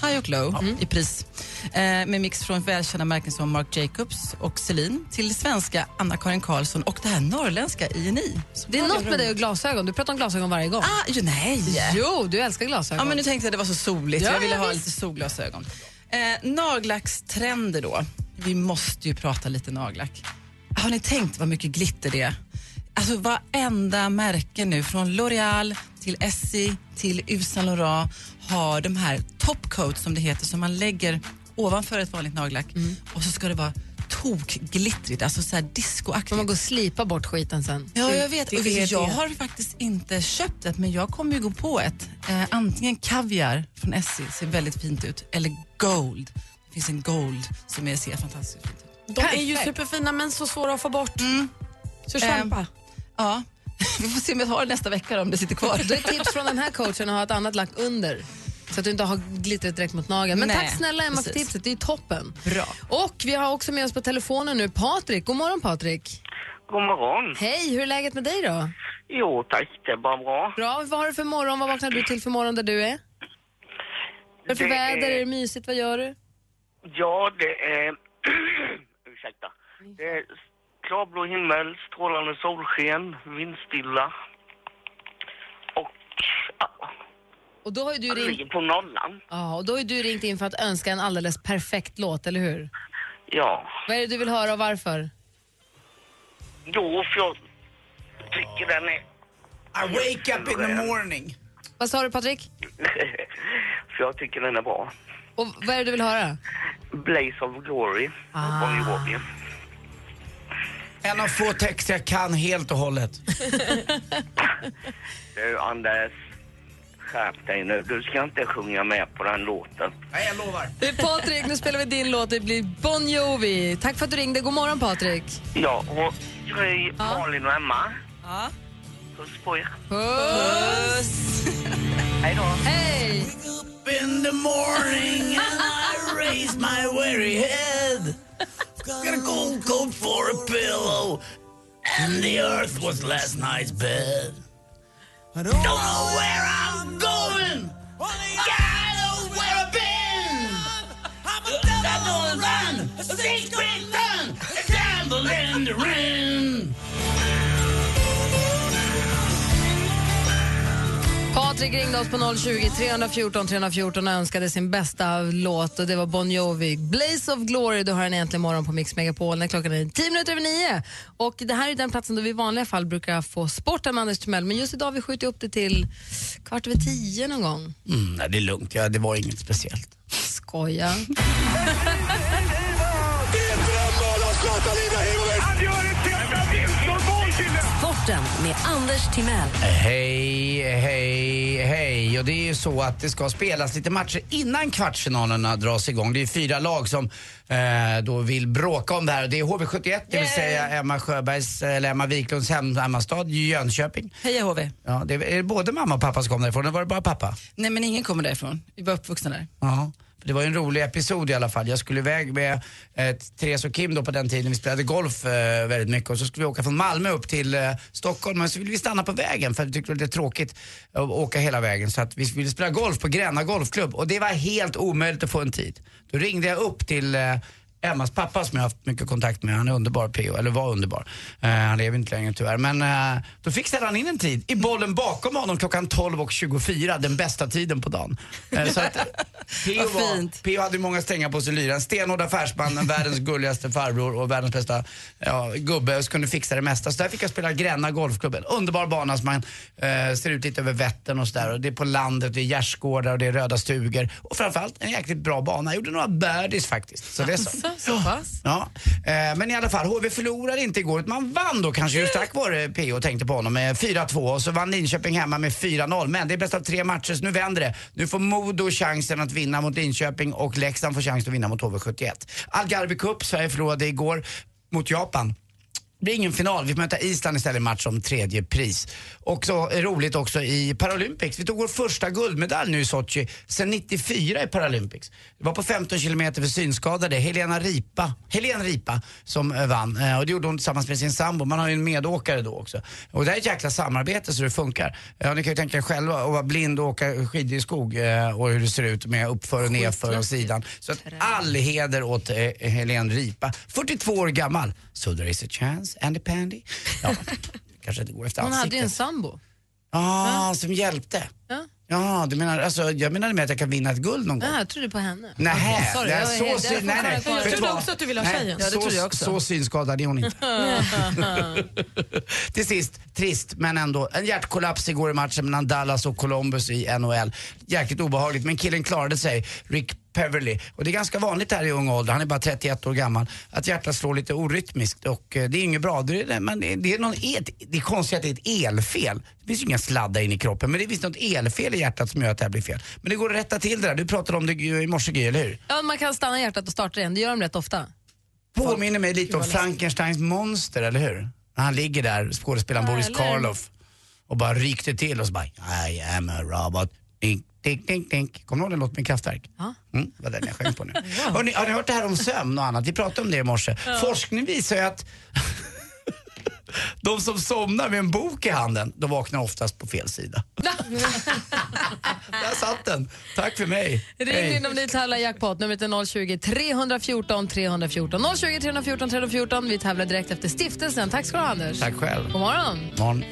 Speaker 2: high och low i pris. Eh, med mix från välkända märken som Marc Jacobs och Celine till svenska Anna-Karin Karlsson och det här norrländska INI.
Speaker 5: Det är något med dig och glasögon. Du pratar om glasögon varje gång.
Speaker 2: Ah, ju, nej.
Speaker 5: Jo, du älskar glasögon.
Speaker 2: Ja, men nu tänkte jag att det var så soligt.
Speaker 5: Ja,
Speaker 2: jag ville
Speaker 5: ja,
Speaker 2: ha
Speaker 5: visst.
Speaker 2: lite solglasögon. Eh, naglackstrender då. Vi måste ju prata lite nagellack. Har ni tänkt vad mycket glitter det är? Alltså varenda märke nu från L'Oreal till Essie till Yves Saint Laurent har de här topcoats som det heter som man lägger ovanför ett vanligt nagellack
Speaker 5: Mm.
Speaker 2: och så ska det vara tokglittrigt, alltså så här discoaktigt.
Speaker 5: Man går och slipar bort skiten sen.
Speaker 2: Ja,
Speaker 5: Det-
Speaker 2: jag vet.
Speaker 5: det
Speaker 2: Och
Speaker 5: är
Speaker 2: jag
Speaker 5: det.
Speaker 2: har faktiskt inte köpt ett, men jag kommer ju gå på ett. Eh, antingen kaviar från Essie, ser väldigt fint ut, eller gold. Det finns en gold som jag ser fantastiskt fint ut.
Speaker 8: De är ju superfina men så svåra att få bort. Så
Speaker 2: Eh,
Speaker 8: kämpa.
Speaker 2: ja. Vi får se om jag har det nästa vecka då, om det sitter kvar.
Speaker 5: Då är tips från den här coachen att ha ett annat lack under. Så att du inte har glittret direkt mot nageln. Men
Speaker 2: Nej,
Speaker 5: tack snälla Emma för
Speaker 2: precis.
Speaker 5: tipset, det är ju toppen.
Speaker 2: Bra.
Speaker 5: Och vi har också med oss på telefonen nu Patrik. God morgon Patrik.
Speaker 13: God morgon.
Speaker 5: Hej, hur är läget med dig då?
Speaker 13: Jo tack, det är bara bra.
Speaker 5: Bra, vad har du för morgon? Vad vaknar du till för morgon där du är? Vad är det för
Speaker 13: Det
Speaker 5: väder?
Speaker 13: är-
Speaker 5: Är det mysigt? Vad gör du?
Speaker 13: Ja, det är... Ursäkta. Det är klarblå himmel, strålande solsken, vindstilla.
Speaker 5: Och då har ju du
Speaker 13: Jag
Speaker 5: ringt,
Speaker 13: ligger på nollan.
Speaker 5: ja, och då har ju du ringt in för att önska en alldeles perfekt låt, eller hur?
Speaker 13: Ja.
Speaker 5: Vad är det du vill höra och varför?
Speaker 13: Jo, för jag tycker den är...
Speaker 3: I wake up in the morning.
Speaker 5: Vad sa du Patrik?
Speaker 13: för jag tycker den är bra.
Speaker 5: Och vad är det du vill höra?
Speaker 13: Blaze of Glory,
Speaker 5: Ah.
Speaker 13: Bonnie Iver.
Speaker 3: En av få texter jag kan helt och hållet.
Speaker 13: Du, Anders. Skärp dig nu. Du ska inte sjunga med på den låten.
Speaker 3: Nej, jag lovar.
Speaker 5: Du Patrik, nu spelar vi din låt. Det blir Bon Jovi. Tack för att du ringde. God morgon Patrik.
Speaker 13: Ja, och Gry, Malin och Emma.
Speaker 2: Ja.
Speaker 13: Puss på er.
Speaker 5: Puss!
Speaker 13: Hej då.
Speaker 5: Hej!
Speaker 3: In the morning and I raise my weary head. Got a cold coat for a pillow. And the earth was last night's bed. I don't know where I'm going. I don't know where I've been. I'm on the run, a secret run, a gambling to run.
Speaker 5: Patrik ringde oss på 020 314 314 och önskade sin bästa låt och det var Bon Jovi. Blaze of Glory, du har den äntligen morgon på Mix Megapol när klockan är 10 minuter över 9. Och det här är den platsen då vi i vanliga fall brukar få sporten med Anders Timell men just idag har vi skjutit upp det till kvart över 10 någon gång.
Speaker 3: Mm, nej, det är lugnt. Ja, det var inget speciellt.
Speaker 5: Skoja.
Speaker 12: Han gör ett jävla vinstmål, killen!
Speaker 5: Sport
Speaker 1: Sporten med Anders Timell.
Speaker 3: Hej, hej, hej. Och det är ju så att det ska spelas lite matcher innan kvartsfinalerna dras igång. Det är fyra lag som eh, då vill bråka om det här. Det är HV71, det vill säga Emma Sjöbergs, eh, eller Emma Wiklunds hem- hemmastad Jönköping.
Speaker 2: Hej HV.
Speaker 3: Ja, det är, är det både mamma och pappa som kom därifrån, eller var det bara pappa?
Speaker 2: Nej, men ingen kommer därifrån. Vi var uppvuxna där.
Speaker 3: Ja. Det var ju en rolig episod i alla fall. Jag skulle iväg med eh, Therese och Kim då på den tiden, vi spelade golf eh, väldigt mycket och så skulle vi åka från Malmö upp till eh, Stockholm men så ville vi stanna på vägen för vi tyckte det var lite tråkigt att åka hela vägen så att vi ville spela golf på Gränna golfklubb och det var helt omöjligt att få en tid. Då ringde jag upp till eh, Emmas pappa som jag har haft mycket kontakt med, han är underbar PO, eller var underbar. Eh, han lever inte längre tyvärr. Men eh, då fixade han in en tid i bollen bakom honom klockan 12.24, den bästa tiden på dagen. Eh, så att, PO, var, PO hade ju många strängar på sig i lyran. Stenhård affärsman, världens gulligaste farbror och världens bästa ja, gubbe. Och kunde fixa det mesta. Så där fick jag spela Gränna golfklubb. En underbar bana som man eh, ser ut lite över Vättern och sådär. Och det är på landet, det är gärdsgårdar och det är röda stugor. Och framförallt en jäkligt bra bana. Jag gjorde några birdies faktiskt. Så det är så.
Speaker 5: Så pass.
Speaker 3: Ja, eh, men i alla fall, HV förlorade inte igår. utan Man vann då kanske just tack vare PO tänkte på honom med 4-2 och så vann Linköping hemma med 4-0. Men det är bäst av tre matcher så nu vänder det. Nu får Modo chansen att vinna mot Linköping och Leksand får chansen att vinna mot HV71. Algarve Cup, Sverige förlorade igår mot Japan. Det blir ingen final, vi får möta Island istället i match om tredje pris. Och så är roligt också i Paralympics, vi tog vår första guldmedalj nu i Sochi sen 94 i Paralympics. Det var på 15 kilometer för synskadade, Helena Ripa, Helene Ripa som eh, vann. Eh, Och det gjorde hon tillsammans med sin sambo, man har ju en medåkare då också. Och det här är ett jäkla samarbete så det funkar. Ja, ni kan ju tänka er själva att vara blind och åka skidor i skog eh, och hur det ser ut med uppför och nedför och sidan. Så att all heder åt eh, Helene Ripa, 42 år gammal. So there is a chance, Andy Pandy. Ja, kanske inte går efter
Speaker 5: Hon hade ju en
Speaker 3: ansiktet.
Speaker 5: sambo.
Speaker 3: Ja, ah, som hjälpte.
Speaker 5: Ja.
Speaker 3: Ja, du menar, alltså, jag menade med att jag kan vinna ett guld någon gång.
Speaker 5: Ja, jag trodde på henne.
Speaker 3: Nähä,
Speaker 5: Okej, sorry,
Speaker 3: nej,
Speaker 5: jag var
Speaker 3: så
Speaker 5: helt-
Speaker 3: syn- nej, nej.
Speaker 5: Jag trodde
Speaker 3: Vet du vad?
Speaker 5: också att du ville ha
Speaker 3: Nej,
Speaker 5: tjejen. Mm. Ja, det
Speaker 3: så-
Speaker 5: trodde jag också.
Speaker 3: Så synskadad är hon inte. Till sist, trist men ändå. En hjärtkollaps igår i matchen mellan Dallas och Columbus i NHL. Jäkligt obehagligt men killen klarade sig. Rick Peverly. Och det är ganska vanligt här i ung ålder, han är bara 31 år gammal, att hjärtat slår lite orytmiskt och eh, det är inget bra. Det är, men det är- det är, någon el, det är konstigt att det är ett elfel. Det finns ju inga sladdar in i kroppen men det är visst något elfel i hjärtat som gör att det här blir fel. Men det går att rätta till det där. Du pratade om det ju i morse Gry, eller hur?
Speaker 5: Ja, man kan stanna hjärtat och starta igen, det gör de rätt ofta.
Speaker 3: Påminner mig lite om Frankensteins monster, eller hur? När han ligger där, skådespelaren
Speaker 5: Ja,
Speaker 3: Boris
Speaker 5: eller-
Speaker 3: Karloff, och bara rykte till och så bara I am a robot. Dink, dink, dink, dink. Kommer du ihåg den låten med Kraftwerk? Ja. Mm, det var den jag sjöng på nu. Har, ni, har ni hört det här om sömn och annat? Vi pratade om det i morse.
Speaker 15: Ja.
Speaker 3: Forskning visar ju att de som somnar med en bok i handen, de vaknar oftast på fel sida. Där satt den. Tack för mig.
Speaker 5: Ring
Speaker 3: Hej.
Speaker 5: in om ni tävlar i jackpot. Numret är 020 314 314. 020 314 314. Vi tävlar direkt efter stiftelsen. Tack ska du ha, Anders.
Speaker 3: Tack själv.
Speaker 5: God morgon.
Speaker 3: Morgon.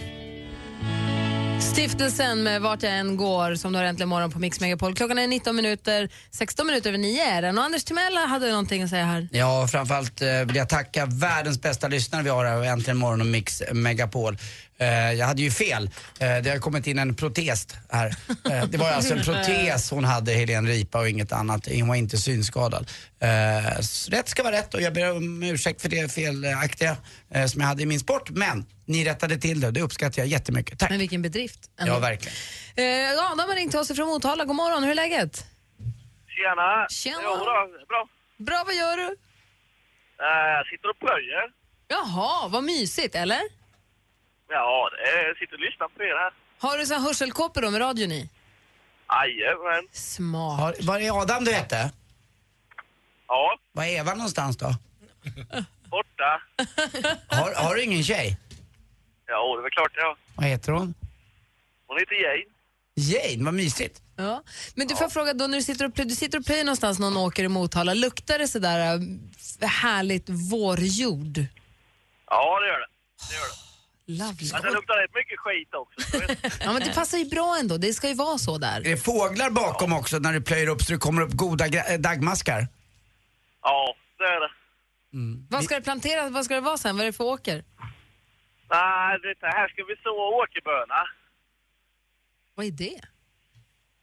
Speaker 5: Stiftelsen med Vart jag än går som du har äntligen morgon på Mix Megapol. Klockan är 19 minuter, 16 minuter över 9 är den. Och Anders Timell hade någonting att säga här.
Speaker 3: Ja, framförallt eh, vill jag tacka världens bästa lyssnare vi har här och äntligen morgon och Mix Megapol. Eh, jag hade ju fel. Eh, det har kommit in en protes här. Eh, det var alltså en protes hon hade, Helene Ripa, och inget annat. Hon var inte synskadad. Eh, s- rätt ska vara rätt och jag ber om ursäkt för det felaktiga eh, som jag hade i min sport. Men ni rättade till det och det uppskattar jag jättemycket. Tack.
Speaker 5: Men vilken bedrift. ändå.
Speaker 3: Ja, verkligen.
Speaker 5: Eh, Adam har ringt till oss från Motala. God morgon, hur är läget?
Speaker 16: Tjena!
Speaker 5: Tjena.
Speaker 16: Jo, då, bra.
Speaker 5: Bra, vad gör du?
Speaker 16: Eh, Jag sitter och plöjer.
Speaker 5: Jaha, vad mysigt, eller?
Speaker 16: Ja, det är- jag sitter och lyssnar på er här.
Speaker 5: Har du så här hörselkåpor då med radion i?
Speaker 16: Jajamän.
Speaker 5: Smart.
Speaker 3: Har, var är Adam du hette?
Speaker 16: Ja.
Speaker 3: Var är Eva någonstans då?
Speaker 16: Borta.
Speaker 3: Har, har du ingen tjej?
Speaker 16: Ja, det är väl klart jag har.
Speaker 3: Vad heter hon?
Speaker 16: Hon heter Jane.
Speaker 3: Jane, vad mysigt.
Speaker 5: Ja. Men du får jag fråga då när du sitter och, plö- du sitter och plöjer någonstans någon åker i Motala, luktar det sådär äh, härligt vårjord?
Speaker 16: Ja, det gör det. Det gör det.
Speaker 5: Lovely.
Speaker 16: Men det luktar rätt mycket skit också.
Speaker 5: Ja men det passar ju bra ändå, det ska ju vara så där.
Speaker 3: Är det fåglar bakom också när du plöjer upp så det kommer upp goda gra- eh, dagmaskar?
Speaker 16: Ja, det är det.
Speaker 5: Vad ska det planteras, vad ska det vara sen, vad är det för åker?
Speaker 16: Nej, det här ska vi så åkerböna.
Speaker 5: Vad är det?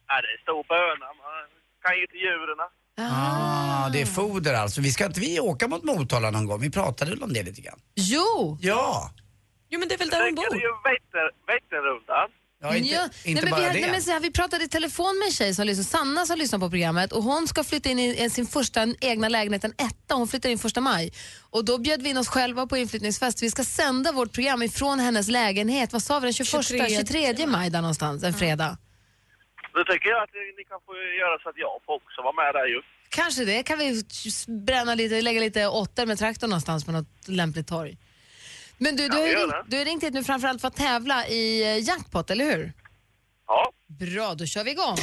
Speaker 16: Nej, det är stor böna. Man kan ju inte djuren.
Speaker 3: Ah, det är foder alltså. Vi ska inte vi åka mot Motala någon gång? Vi pratade väl om det lite grann?
Speaker 5: Jo!
Speaker 3: Ja!
Speaker 8: Jo, men det är väl där hon bor?
Speaker 16: ju Vätter- Vätternrundan.
Speaker 3: Ja, inte,
Speaker 5: Ja,
Speaker 3: inte
Speaker 5: nej, men
Speaker 3: bara
Speaker 5: vi,
Speaker 3: det.
Speaker 5: Nej, men så här, vi pratade i telefon med en tjej som lyssnar, Sanna som lyssnar på programmet och hon ska flytta in i, i sin första egna lägenhet, en etta. Hon flyttar in första maj. Och då bjöd vi in oss själva på inflyttningsfest. Vi ska sända vårt program ifrån hennes lägenhet, vad sa vi, den 21, 23,
Speaker 8: 23.
Speaker 5: maj där någonstans, en fredag.
Speaker 16: Då tycker jag att ni kan få göra så att jag får också vara med där ju.
Speaker 5: Kanske det, kan vi bränna lite, lägga lite åttor med traktorn någonstans på något lämpligt torg. Men du, du, har, ju
Speaker 16: vi gör
Speaker 5: ringt, du har ringt hit nu framförallt för att tävla i eh, jackpot, eller hur?
Speaker 16: Ja.
Speaker 5: Bra, då kör vi igång.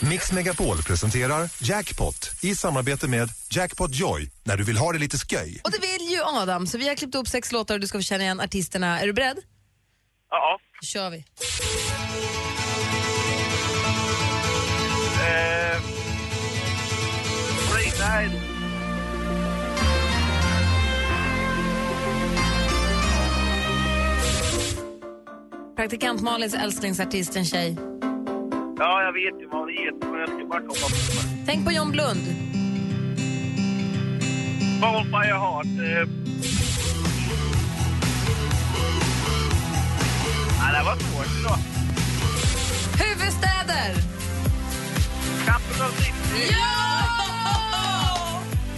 Speaker 15: Mix Megapol presenterar Jackpot i samarbete med Jackpot Joy när du vill ha det lite sköj.
Speaker 5: Och det vill ju Adam, så vi har klippt upp sex låtar och du ska få känna igen artisterna. Är du beredd?
Speaker 16: Ja.
Speaker 5: Då kör vi.
Speaker 16: Eh, Freeside.
Speaker 5: Praktikant Malins älsklingsartist, en tjej.
Speaker 16: Ja, jag vet ju vad hon heter, men jag ska bara komma på det.
Speaker 5: Tänk på John Blund.
Speaker 16: Fall by your heart. Eh. Ja, det var svårt idag.
Speaker 5: Huvudstäder!
Speaker 16: Capital City.
Speaker 5: Ja!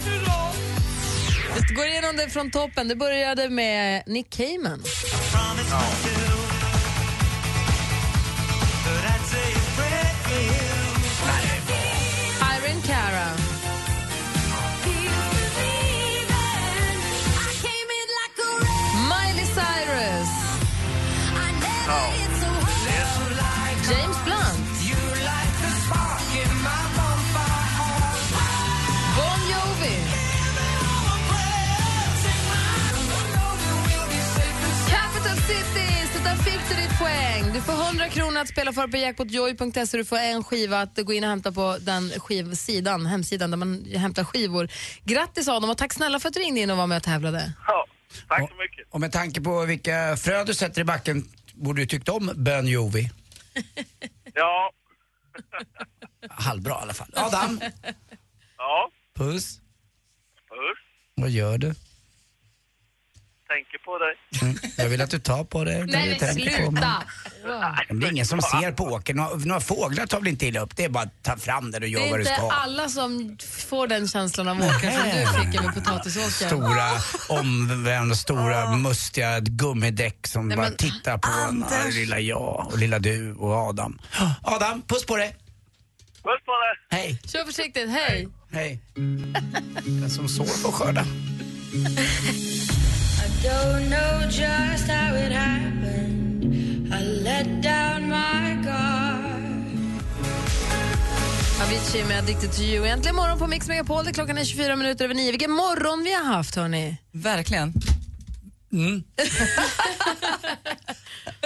Speaker 5: Hurra! Vi går igenom det från toppen. Det började med Nick Cayman. Irene Cara. Miley Cyrus. James Blunt. Bon Jovi. Capital City, så där fick du ditt poäng. Du får 100 kronor att spela för på jackpotjoy.se. Du får en skiva att gå in och hämta på den skivsidan, hemsidan där man hämtar skivor. Grattis Adam och tack snälla för att du ringde in och var med och tävlade.
Speaker 16: Tack så mycket.
Speaker 3: Och med tanke på vilka frö du sätter i backen borde du tyckt om Bön Jovi.
Speaker 16: Ja.
Speaker 3: Halvbra i alla fall. Adam,
Speaker 16: Ja.
Speaker 3: puss.
Speaker 16: Puss.
Speaker 3: Vad gör du?
Speaker 16: Tänker på dig.
Speaker 3: Mm. Jag vill att du tar på det.
Speaker 5: Nej
Speaker 3: Du
Speaker 5: men
Speaker 3: tänker på mig.
Speaker 5: sluta!
Speaker 3: Men Det är ingen som ser på åkern. Några, några fåglar tar väl inte illa upp? Det är bara att ta fram den och
Speaker 5: Det
Speaker 3: göra
Speaker 5: är
Speaker 3: vad du
Speaker 5: inte
Speaker 3: ska.
Speaker 5: alla som får den känslan av åkern som du fick över potatisåkern.
Speaker 3: Stora, omvända, stora, mustiga gummidäck som
Speaker 5: Nej,
Speaker 3: bara
Speaker 5: men
Speaker 3: tittar på en. Ja, det är lilla jag och lilla du och Adam. Adam, puss på dig!
Speaker 16: Puss på dig!
Speaker 3: Hej!
Speaker 5: Kör försiktigt, hej!
Speaker 3: Hej! Den som sår får skörda.
Speaker 14: Don't know just how it happened. I let down my guard.
Speaker 5: Avicii med Addicted to you. Äntligen morgon på Mix Megapol. Det är klockan är 24 minuter över 9. Vilken morgon vi har haft, hörni.
Speaker 2: Verkligen.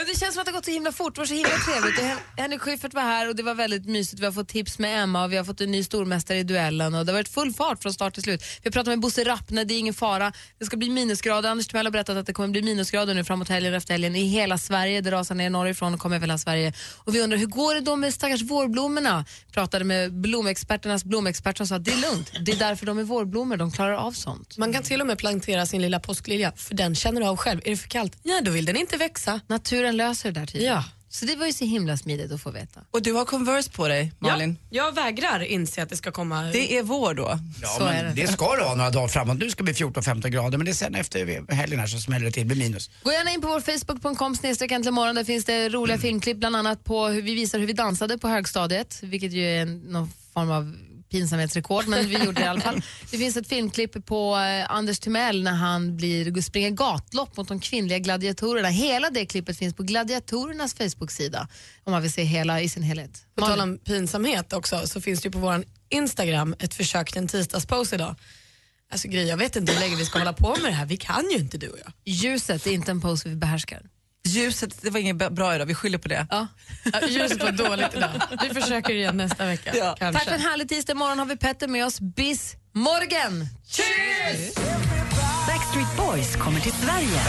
Speaker 5: Det känns som att det har gått så himla fort. Det var så himla trevligt. Och Hen- Henrik Schyffert var här och det var väldigt mysigt. Vi har fått tips med Emma och vi har fått en ny stormästare i duellen. Och det har varit full fart från start till slut. Vi har pratat med Bosse Rappne, det är ingen fara. Det ska bli minusgrader. Anders Timell har berättat att det kommer bli minusgrader nu framåt helgen och efter helgen i hela Sverige. Det rasar ner norrifrån och kommer över hela Sverige. Och vi undrar, hur går det då med stackars vårblommorna? Pratade med blomexperternas blomexpert som sa att det är lugnt. Det är därför de är vårblommor, de klarar av sånt.
Speaker 8: Man kan till och med plantera sin lilla påsklilja, för den känner du av själv. Är det för kallt? Ja, då vill den inte växa.
Speaker 5: Naturen löser det där tydligen.
Speaker 8: Ja.
Speaker 5: Så det var ju så himla smidigt att få veta.
Speaker 2: Och du har Converse på dig, Malin.
Speaker 8: Ja, jag vägrar inse att det ska komma...
Speaker 2: Det är vår då.
Speaker 3: Ja, men det ska du ha några dagar framåt. Nu ska det bli 14-15 grader men det är sen efter helgen här så smäller det till, det blir minus.
Speaker 5: Gå gärna in på vår Facebook.com snedstreck äntligen morgon. Där finns det roliga
Speaker 8: Mm.
Speaker 5: filmklipp bland annat på hur vi visar hur vi dansade på högstadiet, vilket ju är en- någon form av pinsamhetsrekord, men vi gjorde det i alla fall. Det finns ett filmklipp på eh, Anders Timell när han blir, springer gatlopp mot de kvinnliga gladiatorerna. Hela det klippet finns på gladiatorernas Facebook-sida om man vill se hela i sin helhet.
Speaker 8: På tal om pinsamhet också så finns det ju på vår Instagram ett försök till en tisdagspaus idag. Alltså Gry, jag vet inte hur länge vi ska hålla på med det här. Vi kan ju inte du och jag.
Speaker 5: Ljuset är inte en pose vi behärskar.
Speaker 2: Ljuset, det var inget b- bra idag, vi skyller på det.
Speaker 5: Ja.
Speaker 8: Ja, Ljuset var dåligt idag. Vi försöker igen nästa vecka.
Speaker 2: Ja.
Speaker 8: kanske.
Speaker 5: Tack för en härlig tisdag. Imorgon har vi Petter med oss. Bis morgen! Cheers!
Speaker 1: Backstreet Boys kommer till Sverige.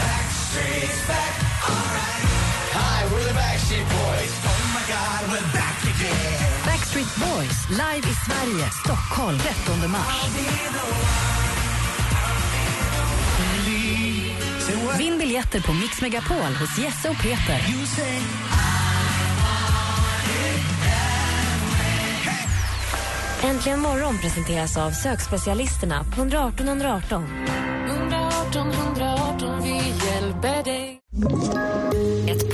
Speaker 1: Backstreet Boys live i Sverige, Stockholm 13 mars.
Speaker 17: Vinn biljetter på Mix Megapol hos Jesse och Peter.
Speaker 1: Äntligen morgon presenteras av sökspecialisterna på 118 118.
Speaker 18: 118 118, vi hjälper dig. Ett